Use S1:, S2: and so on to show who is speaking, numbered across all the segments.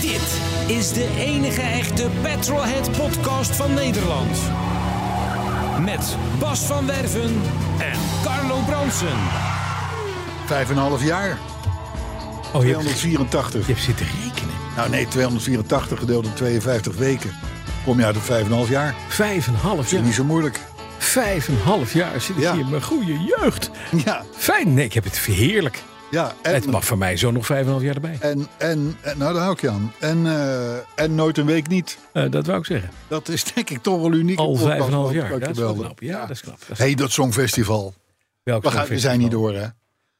S1: Dit is de enige echte Petrolhead podcast van Nederland. Met Bas van Werven en Carlo Bronsen.
S2: Vijf en een half jaar.
S3: Oh, je hebt, je
S2: 284.
S3: hebt zitten rekenen.
S2: Nou nee, 284 gedeeld door 52 weken. Kom je uit op vijf en een half jaar.
S3: Vijf en een half
S2: Is Niet
S3: jaar.
S2: zo moeilijk.
S3: Vijf en een half jaar zit ik
S2: Ja.
S3: hier. Mijn goede jeugd.
S2: Ja,
S3: Fijn. Nee, ik heb het heerlijk.
S2: ja.
S3: Het
S2: En,
S3: mag voor mij zo nog vijf en een half jaar erbij.
S2: en, en, en- nou daar hou ik je aan. En, eh, en nooit een week niet.
S3: Eh, dat wou ik zeggen.
S2: Dat is denk ik toch wel uniek.
S3: Al vijf en een half jaar.
S2: Dank je
S3: Dat is wel
S2: wel.
S3: knap. Ja, dat is knap. Dat is-
S2: Hé, hey, dat Songfestival.
S3: Welk
S2: We, gaan, we
S3: songfestival?
S2: zijn niet door, hè?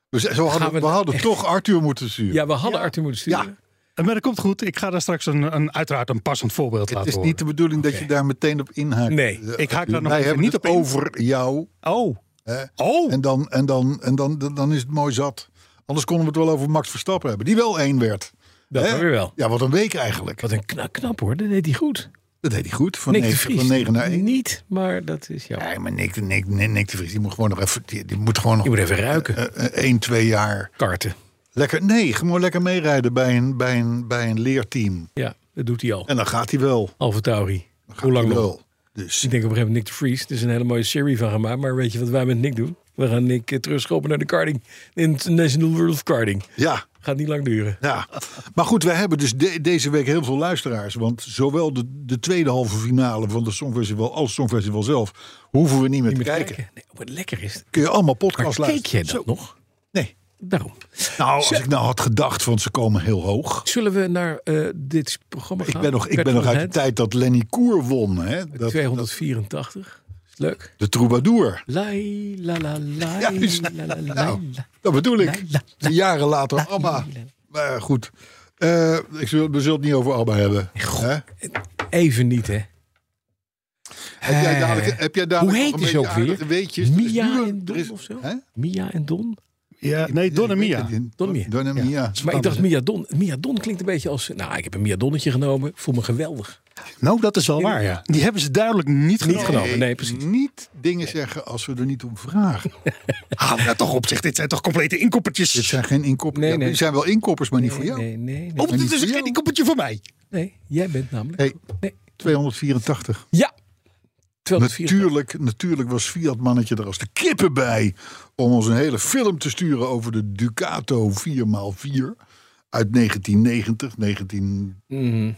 S2: We, z- zo hadden,
S3: Gaan
S2: we,
S3: we-
S2: hadden
S3: echt?
S2: toch Arthur moeten sturen.
S3: Ja, we hadden Arthur moeten sturen.
S2: Ja.
S4: Eh, Maar dat komt goed. Ik ga daar straks een, een, uiteraard een passend voorbeeld
S2: Het
S4: laten
S2: is niet
S4: horen.
S2: de bedoeling dat je
S3: Oké.
S2: daar meteen op inhaakt.
S3: Nee,
S2: Eh,
S4: ik haak daar nog
S2: Wij
S4: even
S2: hebben
S4: niet
S2: het
S4: op in.
S2: over jou.
S4: Oh.
S2: Hè?
S4: Oh.
S2: En, dan, en, dan, en dan, dan, dan is het mooi zat. Anders konden we het wel over Max Verstappen hebben. Die wel één werd.
S3: Dat
S2: Hè?
S3: maar weer wel.
S2: Ja, wat een week eigenlijk.
S3: Wat een knap, knap hoor. Dat deed hij goed.
S2: Dat deed hij goed. Van
S3: Nick de
S2: 9,
S3: Vries.
S2: van 9 naar 1.
S3: Niet, maar dat is jouw.
S2: Nee, maar Nick, Nick, Nick, Nick de Vries, die moet gewoon nog even... Die, die moet gewoon nog
S3: Je moet even ruiken.
S2: eh, eh, één, twee jaar...
S3: Karten.
S2: Lekker, nee, gewoon lekker meerijden bij een, bij, een, bij een leerteam.
S3: Ja, dat doet hij al.
S2: En dan gaat hij wel.
S3: Alfa Tauri.
S2: Dan gaat
S3: Hoe lang
S2: hij
S3: nog?
S2: wel. Dus
S3: Ik denk op een gegeven moment Nick de Vries. Er is een hele mooie serie van gemaakt. Maar weet je wat wij met Nick doen? We gaan Nick eh, terugschoppen naar de karting. International World of Karting.
S2: ja,
S3: Gaat niet lang duren.
S2: ja. Maar goed, we hebben dus de- deze week heel veel luisteraars. Want zowel de, de tweede halve finale van de Songfestival als het Songfestival zelf... hoeven we niet meer
S3: Niet
S2: te
S3: meer te
S2: kijken.
S3: Nee, wat lekker is. het.
S2: Kun je allemaal
S3: Maar
S2: podcasts
S3: keek
S2: luisteren.
S3: jij dat nog?
S2: Nee.
S3: Daarom.
S2: Nou, als ik nou had gedacht van ze komen heel hoog.
S3: Zullen we naar eh, dit programma gaan?
S2: Ik ben nog, ik ben nog uit de
S3: Petrolhead,
S2: tijd dat Lenny Koer won. Hè? Dat,
S3: 284. Is leuk.
S2: de troubadour.
S3: Lai, la, la, lai,
S2: Ja, dus-
S3: la, la, la,
S2: Nou,
S3: lai, la.
S2: dat bedoel ik.
S3: Lai, la,
S2: Die Jaren later, Abba. Maar goed, Eh, ik zul, we zullen het niet over Abba hebben. Hè?
S3: Even niet, hè?
S2: Heb jij dadelijk, heb jij dadelijk
S3: Hoe heet
S2: nog
S3: die
S2: een
S3: ze
S2: beetje
S3: ook weer?
S2: aardige weetjes? Er is nu
S3: Mia
S2: een-
S3: en
S2: er is-
S3: Don of zo?
S2: Hè?
S3: Mia en Don?
S4: Ja, nee, Don en Mia.
S3: Don Mia.
S2: Don en
S4: Ja.
S2: Mia.
S3: Maar ik dacht, Mia Don, Mia Don klinkt een beetje als... Nou, ik heb een Mia Donnetje genomen. Ik voel me geweldig.
S4: Nou, dat is wel
S3: waar,
S4: ja. Die hebben ze duidelijk niet
S3: Niet
S4: genomen.
S3: genomen, nee, precies.
S2: eh, Niet dingen zeggen als we er niet om vragen.
S4: Hou dat Ah, toch op zich. Dit zijn toch complete
S2: Dit
S4: inkoppertjes.
S2: zijn geen inkoppers.
S3: Nee,
S2: Ja,
S3: nee.
S2: die zijn wel inkoppers, maar niet voor jou.
S3: Nee, nee, nee.
S4: Oh,
S2: niet
S4: dit
S2: voor
S4: is
S2: jou.
S4: geen inkoppertje voor mij.
S3: Nee, jij bent namelijk...
S2: Hey,
S3: Nee.
S2: 284.
S3: Ja. 284.
S2: Natuurlijk, natuurlijk was Fiat mannetje er als de kippen bij om ons een hele film te sturen over de Ducato 4x4 uit 1990, 19
S3: Mhm.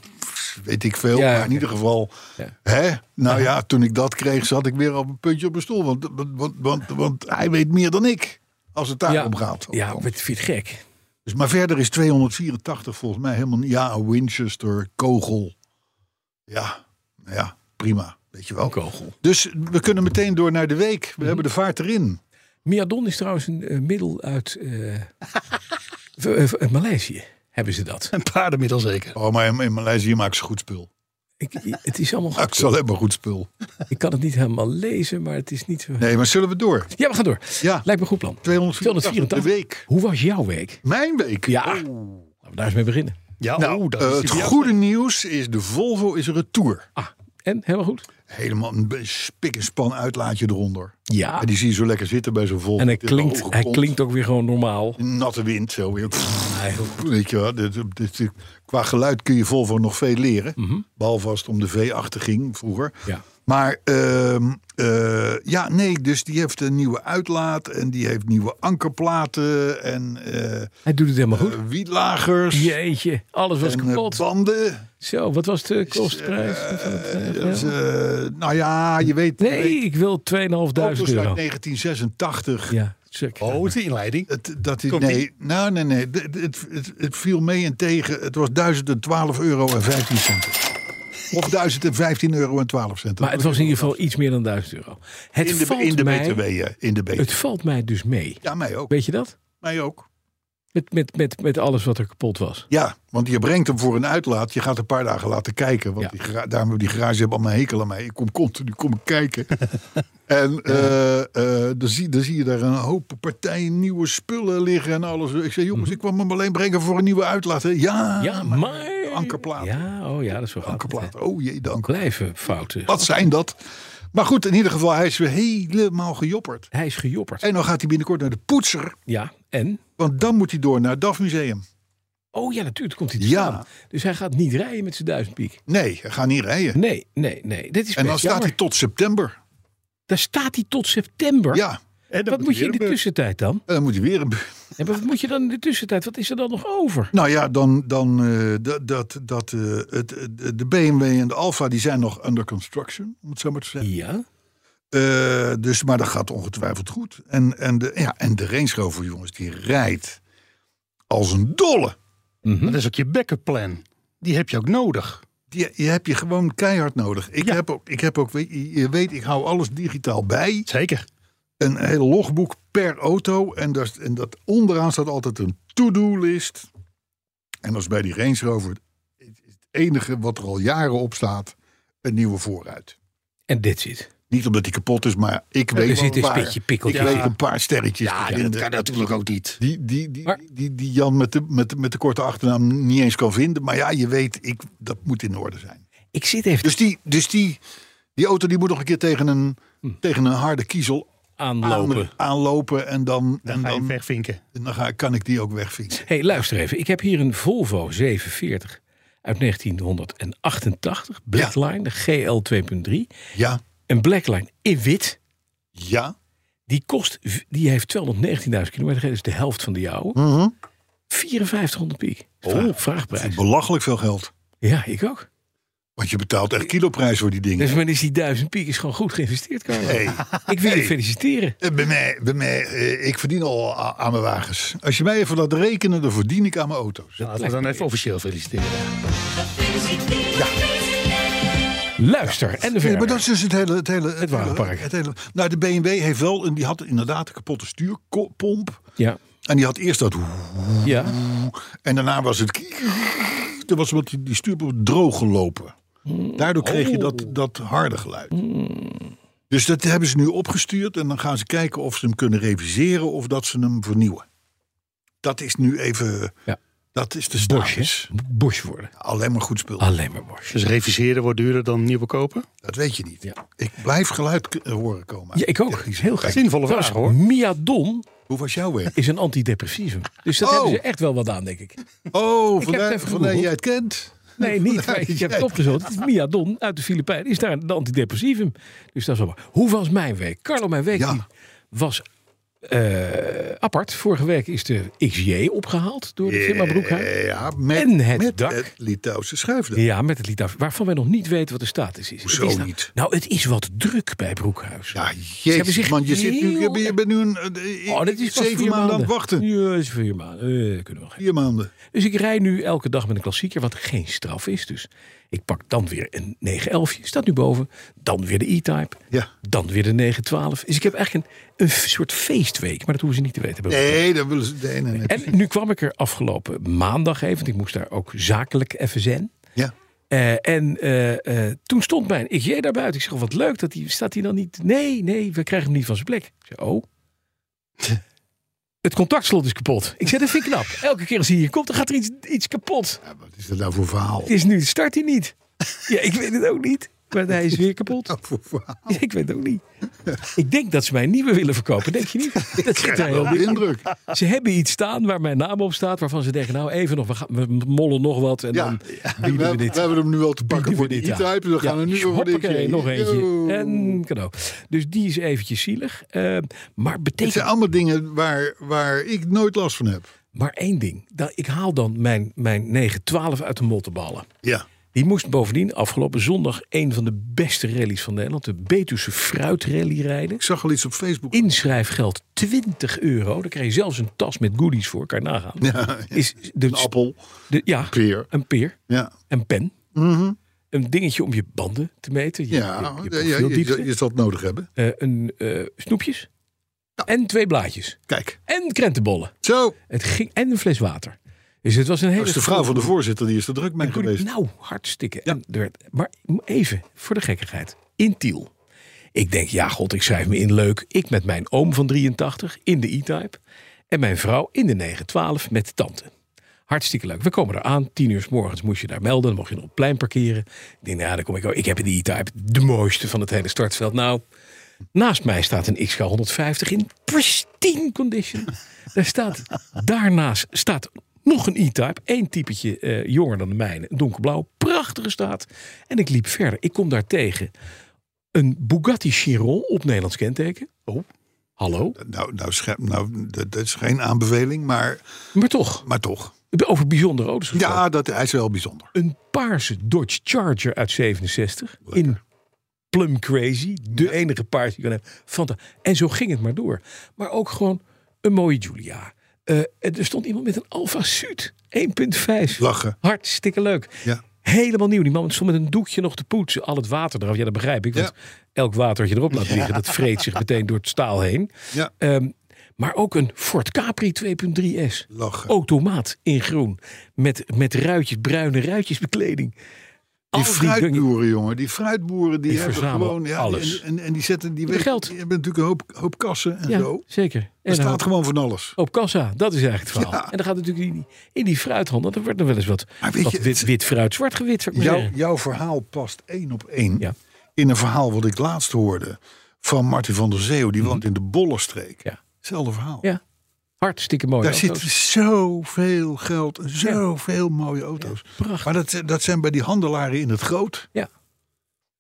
S2: weet ik veel,
S3: Ja,
S2: maar in
S3: oké.
S2: ieder geval.
S3: Ja.
S2: Hè? Nou ja, toen ik dat kreeg zat ik weer op een puntje op mijn stoel, want, want, want, want, want hij weet meer dan ik als het daarom gaat.
S3: Ja, maar het vind je het gek.
S2: Dus, maar verder is 284 volgens mij helemaal niet- ja Winchester, kogel, ja, nou ja, prima, weet je wel.
S3: Een kogel.
S2: Dus we kunnen meteen door naar de week. We
S3: Mhm.
S2: hebben de vaart erin.
S3: Miadon is trouwens een eh, middel uit eh, v- eh, v- eh, Maleisië. Hebben ze dat?
S4: Een paardenmiddel zeker.
S2: Oh, maar in, in Maleisië maken ze goed spul.
S3: Ik, het is allemaal.
S2: Maken ze alleen maar goed spul.
S3: Ik kan het niet helemaal lezen, maar het is niet zo.
S2: Nee, maar zullen we door?
S3: Ja, we gaan door.
S2: Ja.
S3: Lijkt me een goed plan.
S2: 284 de
S3: 284.
S2: week.
S3: Hoe was jouw week?
S2: Mijn week.
S3: Ja. Laten we daar eens mee beginnen.
S4: Ja,
S2: Nou,
S4: oh, dat
S2: eh,
S4: is
S2: het
S4: idioot.
S2: goede nieuws is de Volvo is retour.
S3: Ah, en helemaal goed?
S2: Helemaal een be- spik en span uitlaatje eronder.
S3: Ja.
S2: En die zie je zo lekker zitten bij zo'n Volvo.
S3: En hij
S2: Dit is een
S3: klinkt,
S2: hoge
S3: hij
S2: kont.
S3: klinkt ook weer gewoon normaal.
S2: Natte wind zo weer.
S3: Hij-
S2: Weet je wel, dit, dit- dit- qua geluid kun je Volvo nog veel leren. Behalve als het om de V8 ging vroeger.
S3: Mhm. Ja.
S2: Maar ehm, eh, ja, nee, dus die heeft een nieuwe uitlaat. En die heeft nieuwe ankerplaten. En eh,
S3: Hij doet het helemaal goed.
S2: eh, wielagers.
S3: Jeetje, alles was
S2: en eh,
S3: kapot.
S2: banden.
S3: Zo, wat was de kostprijs? van het, eh,
S2: Dus,
S3: wel?
S2: eh, nou ja, je weet. je
S3: nee,
S2: weet,
S3: ik wil 2.500
S2: auto's
S3: euro.
S2: uit 1986.
S3: Ja, check.
S4: Oh, het is de inleiding.
S2: Het, dat is,
S4: Komt
S2: nee, nou, nee, nee. Het, het, het, het viel mee en tegen. Het was 1012 euro en 15 cent. Of 1015 euro en 12 cent.
S3: Maar het was in ieder geval iets meer dan 1000 euro. Het,
S2: in de,
S3: valt,
S2: in de
S3: mij,
S2: BTW. hè, In de BTW.
S3: het valt mij dus mee.
S2: Ja, mij ook.
S3: Weet je dat?
S2: Mij ook.
S3: Met, met, met, met alles wat er kapot was.
S2: Ja, want je brengt hem voor een uitlaat. Je gaat een paar dagen laten kijken. Want
S3: Ja.
S2: die gara- daarom die garage hebben allemaal hekel aan mij. Ik kom continu kom kijken. en eh, eh, dan, zie, dan zie je daar een hoop partijen nieuwe spullen liggen en alles. Ik zei, jongens, ik kwam hem alleen brengen voor een nieuwe uitlaat. hè. Ja,
S3: Mhm. Ja,
S2: Ah, maar eh,
S3: maar...
S2: ankerplaten.
S3: Ja, oh ja, dat is wel
S2: ankerplaten. Oh jee, de anker.
S3: Blijven fouten.
S2: Wat zijn dat? Maar goed, in ieder geval, hij is weer helemaal gejopperd.
S3: Hij is gejopperd.
S2: En dan gaat hij binnenkort naar de poetser.
S3: Ja, en?
S2: Want dan moet hij door naar het DAF Museum.
S3: Oh ja, natuurlijk komt hij te
S2: Ja.
S3: staan. Dus hij gaat niet rijden met zijn duizend piek.
S2: Nee, hij gaat niet rijden.
S3: Nee, nee, nee. Dit is
S2: En dan
S3: best
S2: staat
S3: jammer.
S2: hij tot september.
S3: Daar staat hij tot september.
S2: Ja,
S4: En dan
S3: Wat moet je in de
S4: weer een
S3: tussentijd dan?
S2: en dan moet hij weer een... bu-
S3: En wat moet je dan in de tussentijd? Wat is er dan nog over?
S2: Nou ja, dan, dan eh, dat, dat, dat, eh, het, het- de BMW en de Alfa die zijn nog under construction, om het zo maar te zeggen.
S3: Ja.
S2: Eh, dus, maar dat gaat ongetwijfeld goed. En, en, de, ja, en de Range Rover, jongens, die rijdt als een dolle.
S4: Maar Dat is ook je backup plan. Die heb je ook nodig.
S2: Die, die heb je gewoon keihard nodig. Ik,
S4: Ja.
S2: heb ook, ik heb ook, weet- je weet, ik hou alles digitaal bij.
S4: Zeker.
S2: Een heel logboek per auto. En, daar, en dat onderaan staat altijd een to-do-list. En als bij die Range Rover het, het enige wat er al jaren op staat, een nieuwe vooruit.
S3: En dit zit.
S2: Niet omdat die kapot is, maar ik
S3: er
S2: weet wel
S3: zit
S2: een
S3: een
S2: paar.
S3: spitje pikkeltje
S2: Ik weet
S3: in.
S2: een paar sterretjes.
S4: Ja,
S2: die-
S4: dat kan natuurlijk ook niet.
S2: die, die, die,
S3: Maar-
S2: die, die Jan met de, met, de- met de korte achternaam niet eens kan vinden. Maar ja, je weet, ik, dat moet in orde zijn.
S3: Ik zit even
S2: Dus die, dus die, die auto die moet nog een keer tegen een, tegen een harde kiezel
S3: Hm. aanlopen.
S2: aan- aanlopen. En dan, en
S4: Ga je
S2: dan,
S4: wegvinken.
S2: en dan ga, kan ik die ook wegvinken.
S3: hey, luister even. Ik heb hier een Volvo 740 uit 1988. Blackline, de GL 2.3.
S2: Ja,
S3: Een Blackline in wit.
S2: ja.
S3: Die kost, v- die heeft 219.000 kilometer gereden, dus de helft van de jouwe. 5400 piek.
S2: Oh,
S3: Vraag,
S2: Dat is
S3: vraagprijs.
S2: belachelijk veel geld.
S3: Ja, ik ook.
S2: Want je betaalt echt kiloprijs voor die dingen.
S3: Dus maar is die 1000 piek is gewoon goed geïnvesteerd, Carlo.
S2: Hey.
S3: Ik wil je
S2: Hey.
S3: feliciteren.
S2: Eh, Bij mij, bij mij eh, ik verdien al a- aan mijn wagens. Als je mij even laat rekenen, dan verdien ik aan mijn auto's.
S4: Laten we dan even officieel feliciteren.
S3: Luister en verder.
S2: Nee, maar dat is dus het hele... Het, hele, het,
S3: wagenpark.
S2: hele, het hele- nou, de BMW heeft wel... En die had inderdaad een kapotte stuurpomp.
S3: Ja,
S2: En die had eerst dat...
S3: ja.
S2: En daarna was het... Toen was wat die, die stuurpomp droog gelopen. Daardoor kreeg je dat, dat harde geluid. Dus dat hebben ze nu opgestuurd. En dan gaan ze kijken of ze hem kunnen reviseren... of dat ze hem vernieuwen. Dat is nu even...
S3: Ja.
S2: Dat is de
S3: Bosjes.
S2: status.
S3: Bosch worden.
S2: Alleen maar goed spul.
S3: Alleen maar Bosch.
S4: Dus reviseren wordt duurder dan nieuw bekopen?
S2: Dat weet je niet.
S3: Ja.
S2: Ik blijf geluid k- horen komen.
S3: Ja, ik ook.
S2: die-
S3: Heel gek.
S4: Zinvolle
S3: Trouwens,
S4: vraag, hoor.
S3: Miadon
S2: Hoe was jouw werk?
S3: is een antidepressivum. Dus dat
S2: Oh.
S3: hebben ze echt wel wat aan, denk ik.
S2: Oh,
S3: Ik heb het
S2: vandaar
S3: even
S2: vandaar
S3: gegoogeld.
S2: jij het kent.
S3: Nee, niet. maar ik heb het opgezocht. Het is Miadon uit de Filipijnen. Is daar een antidepressivum. Dus dat is allemaal. Hoe was mijn week? Carlo, mijn week
S2: Ja.
S3: die was eh, apart. Vorige week is de XJ opgehaald door de firma Broekhuis.
S2: Ja, met,
S3: En het
S2: met
S3: dak.
S2: het Litouwse schuifdak.
S3: Ja, met het lied af. Waarvan wij nog niet weten wat de status is.
S2: Hoezo
S3: Het is nou,
S2: niet?
S3: Nou, het is wat druk bij Broekhuis.
S2: Ja,
S3: hebben
S2: jezus
S3: zich
S2: man, je, zit nu, je,
S3: heel-
S2: bent- je bent nu een, eh,
S3: Oh, dat is pas
S2: zeven
S3: vier
S2: maanden aan
S3: maanden.
S2: het wachten.
S3: Ja, dat is vier maanden. Eh, kunnen we nog
S2: Vier maanden.
S3: Dus ik rij nu elke dag met een klassieker, wat geen straf is. Dus ik pak dan weer een 911, staat nu boven. Dan weer de E-Type.
S2: Ja.
S3: Dan weer de 912. Dus ik heb eigenlijk een, een f- soort feestweek, maar dat hoeven ze niet te weten.
S2: Nee, dat willen ze. Nee, nee, nee.
S3: En nu kwam ik er afgelopen maandag even, want ik moest daar ook zakelijk even zijn.
S2: Ja.
S3: Eh, en eh, eh, toen stond mijn IGJ daar buiten. Ik zeg, oh, wat leuk, dat die, staat hij dan niet? Nee, nee, we krijgen hem niet van zijn plek. Ik zeg, oh. Het contactslot is kapot. Ik zeg, dat vind ik knap. Elke keer als hij hier komt, dan gaat er iets, iets kapot.
S2: Ja, Wat is dat nou voor verhaal?
S3: Het is nu, start hij niet. Ja, ik weet het ook niet. Maar hij is weer kapot.
S2: Nou, voor verhaal.
S3: Ja, ik weet het ook niet. Ik denk dat ze mij een nieuwe willen verkopen, denk je niet? Dat zit er heel
S2: De
S3: dik in.
S2: indruk.
S3: Ze hebben iets staan waar mijn naam op staat, waarvan ze denken, nou even nog, we, gaan, we mollen nog wat en
S2: Ja,
S3: dan
S2: we,
S3: bieden we
S2: hebben-
S3: dit.
S2: we hebben hem nu al te pakken
S3: Bieden
S2: voor
S3: we
S2: die
S3: dit aan.
S2: E-Type. We gaan
S3: Ja,
S2: er nu weer voor de
S3: hoppakee,
S2: XJ.
S3: nog eentje.
S2: Yo.
S3: En cadeau. Dus die is eventjes zielig. Eh, maar
S2: Het
S3: betekent
S2: zijn allemaal dingen waar, waar ik nooit last van heb.
S3: maar één ding. Dat, ik haal dan mijn, mijn 912 uit de mottenballen.
S2: Ja.
S3: Die moest bovendien afgelopen zondag een van de beste rallies van Nederland, de Betuwse Fruitrally rijden.
S2: Ik zag al iets op Facebook.
S3: Inschrijfgeld 20 euro. Daar krijg je zelfs een tas met goodies voor, kan je nagaan.
S2: Ja, ja.
S3: Is de,
S2: Een appel,
S3: de- ja,
S2: peer.
S3: een peer,
S2: Ja.
S3: een pen. een dingetje om je banden te meten. Je,
S2: Ja,
S3: je,
S2: ja,
S3: je
S2: ja, je,
S3: profieldiepte,
S2: je zal het nodig hebben.
S3: eh, een eh, snoepjes. En twee blaadjes.
S2: Kijk,
S3: En krentenbollen.
S2: zo.
S3: Het ging, en een fles water. Dus het was een hele...
S2: Dat is de vrouw van de voorzitter, die is er druk mee
S3: Toen ik-
S2: geweest.
S3: Nou, hartstikke.
S2: Ja.
S3: En er werd- maar even, voor de gekkigheid. In Tiel. Ik denk, ja god, ik schrijf me in leuk. Ik met mijn oom van 83 in de E-Type. En mijn vrouw in de 912 met tante. Hartstikke leuk. We komen eraan. Tien uur s morgens moest je daar melden. Dan mocht je nog op het plein parkeren. Ik denk, nou ja, dan kom ik ook. Ik heb in de E-Type de mooiste van het hele startveld. Nou, Naast mij staat een XK 150 in pristine condition. Daar staat, daarnaast staat nog een E-Type. Eén typetje eh, jonger dan de mijne. Een donkerblauw. Prachtige staat. En ik liep verder. Ik kom daar tegen een Bugatti Chiron op Nederlands kenteken. Oh. Hallo.
S2: Nou, nou, scherp, nou dat, dat is geen aanbeveling, maar,
S3: Maar toch,
S2: maar toch.
S3: over bijzondere auto's gesproken.
S2: Ja, dat hij is wel bijzonder.
S3: Een paarse Dodge Charger uit 67. In Plum Crazy. De enige paars die ik kan hebben. Fanta- En zo ging het maar door. Maar ook gewoon een mooie Julia. Eh, er stond iemand met een Alfa Suit. 1.5.
S2: Lachen.
S3: Hartstikke leuk.
S2: Ja.
S3: Helemaal nieuw. Die man stond met een doekje nog te poetsen. Al het water eraf. Ja, dat begrijp ik. Want
S2: Ja.
S3: elk water dat je erop laat liggen, dat vreet zich meteen door het staal heen.
S2: Ja,
S3: Ehm, maar ook een Ford Capri 2.3S.
S2: lachen.
S3: Automaat in groen. Met, met ruitjes, bruine ruitjesbekleding. Al
S2: Die
S3: oh, die dingen-
S2: fruitboeren, jongen. Die fruitboeren, die,
S3: Die
S2: hebben
S3: verzamelen
S2: gewoon... Ja,
S3: alles.
S2: En, en, en die zetten... Die,
S3: Met
S2: weg-
S3: geld.
S2: die hebben natuurlijk een hoop, hoop kassen en
S3: ja,
S2: zo.
S3: zeker. En
S2: Er
S3: een
S2: staat
S3: hoop-
S2: gewoon van alles.
S3: op kassa, dat is eigenlijk het verhaal.
S2: Ja.
S3: En dan gaat natuurlijk in die, in die fruithandel, dan wordt er wel eens wat,
S2: Maar weet
S3: wat
S2: je,
S3: wit,
S2: het-
S3: wit fruit, zwart gewit. zou ik maar
S2: Jouw,
S3: zeggen.
S2: jouw verhaal past één op één
S3: Ja.
S2: in een verhaal wat ik laatst hoorde van Martin van der Zeeuw. Die woont in de Bollenstreek.
S3: Mhm. Ja.
S2: Hetzelfde verhaal.
S3: Ja. Hartstikke mooi.
S2: Daar zit zoveel geld, en zoveel mooie auto's.
S3: prachtig.
S2: maar dat, dat zijn bij die handelaren in het groot.
S3: Ja.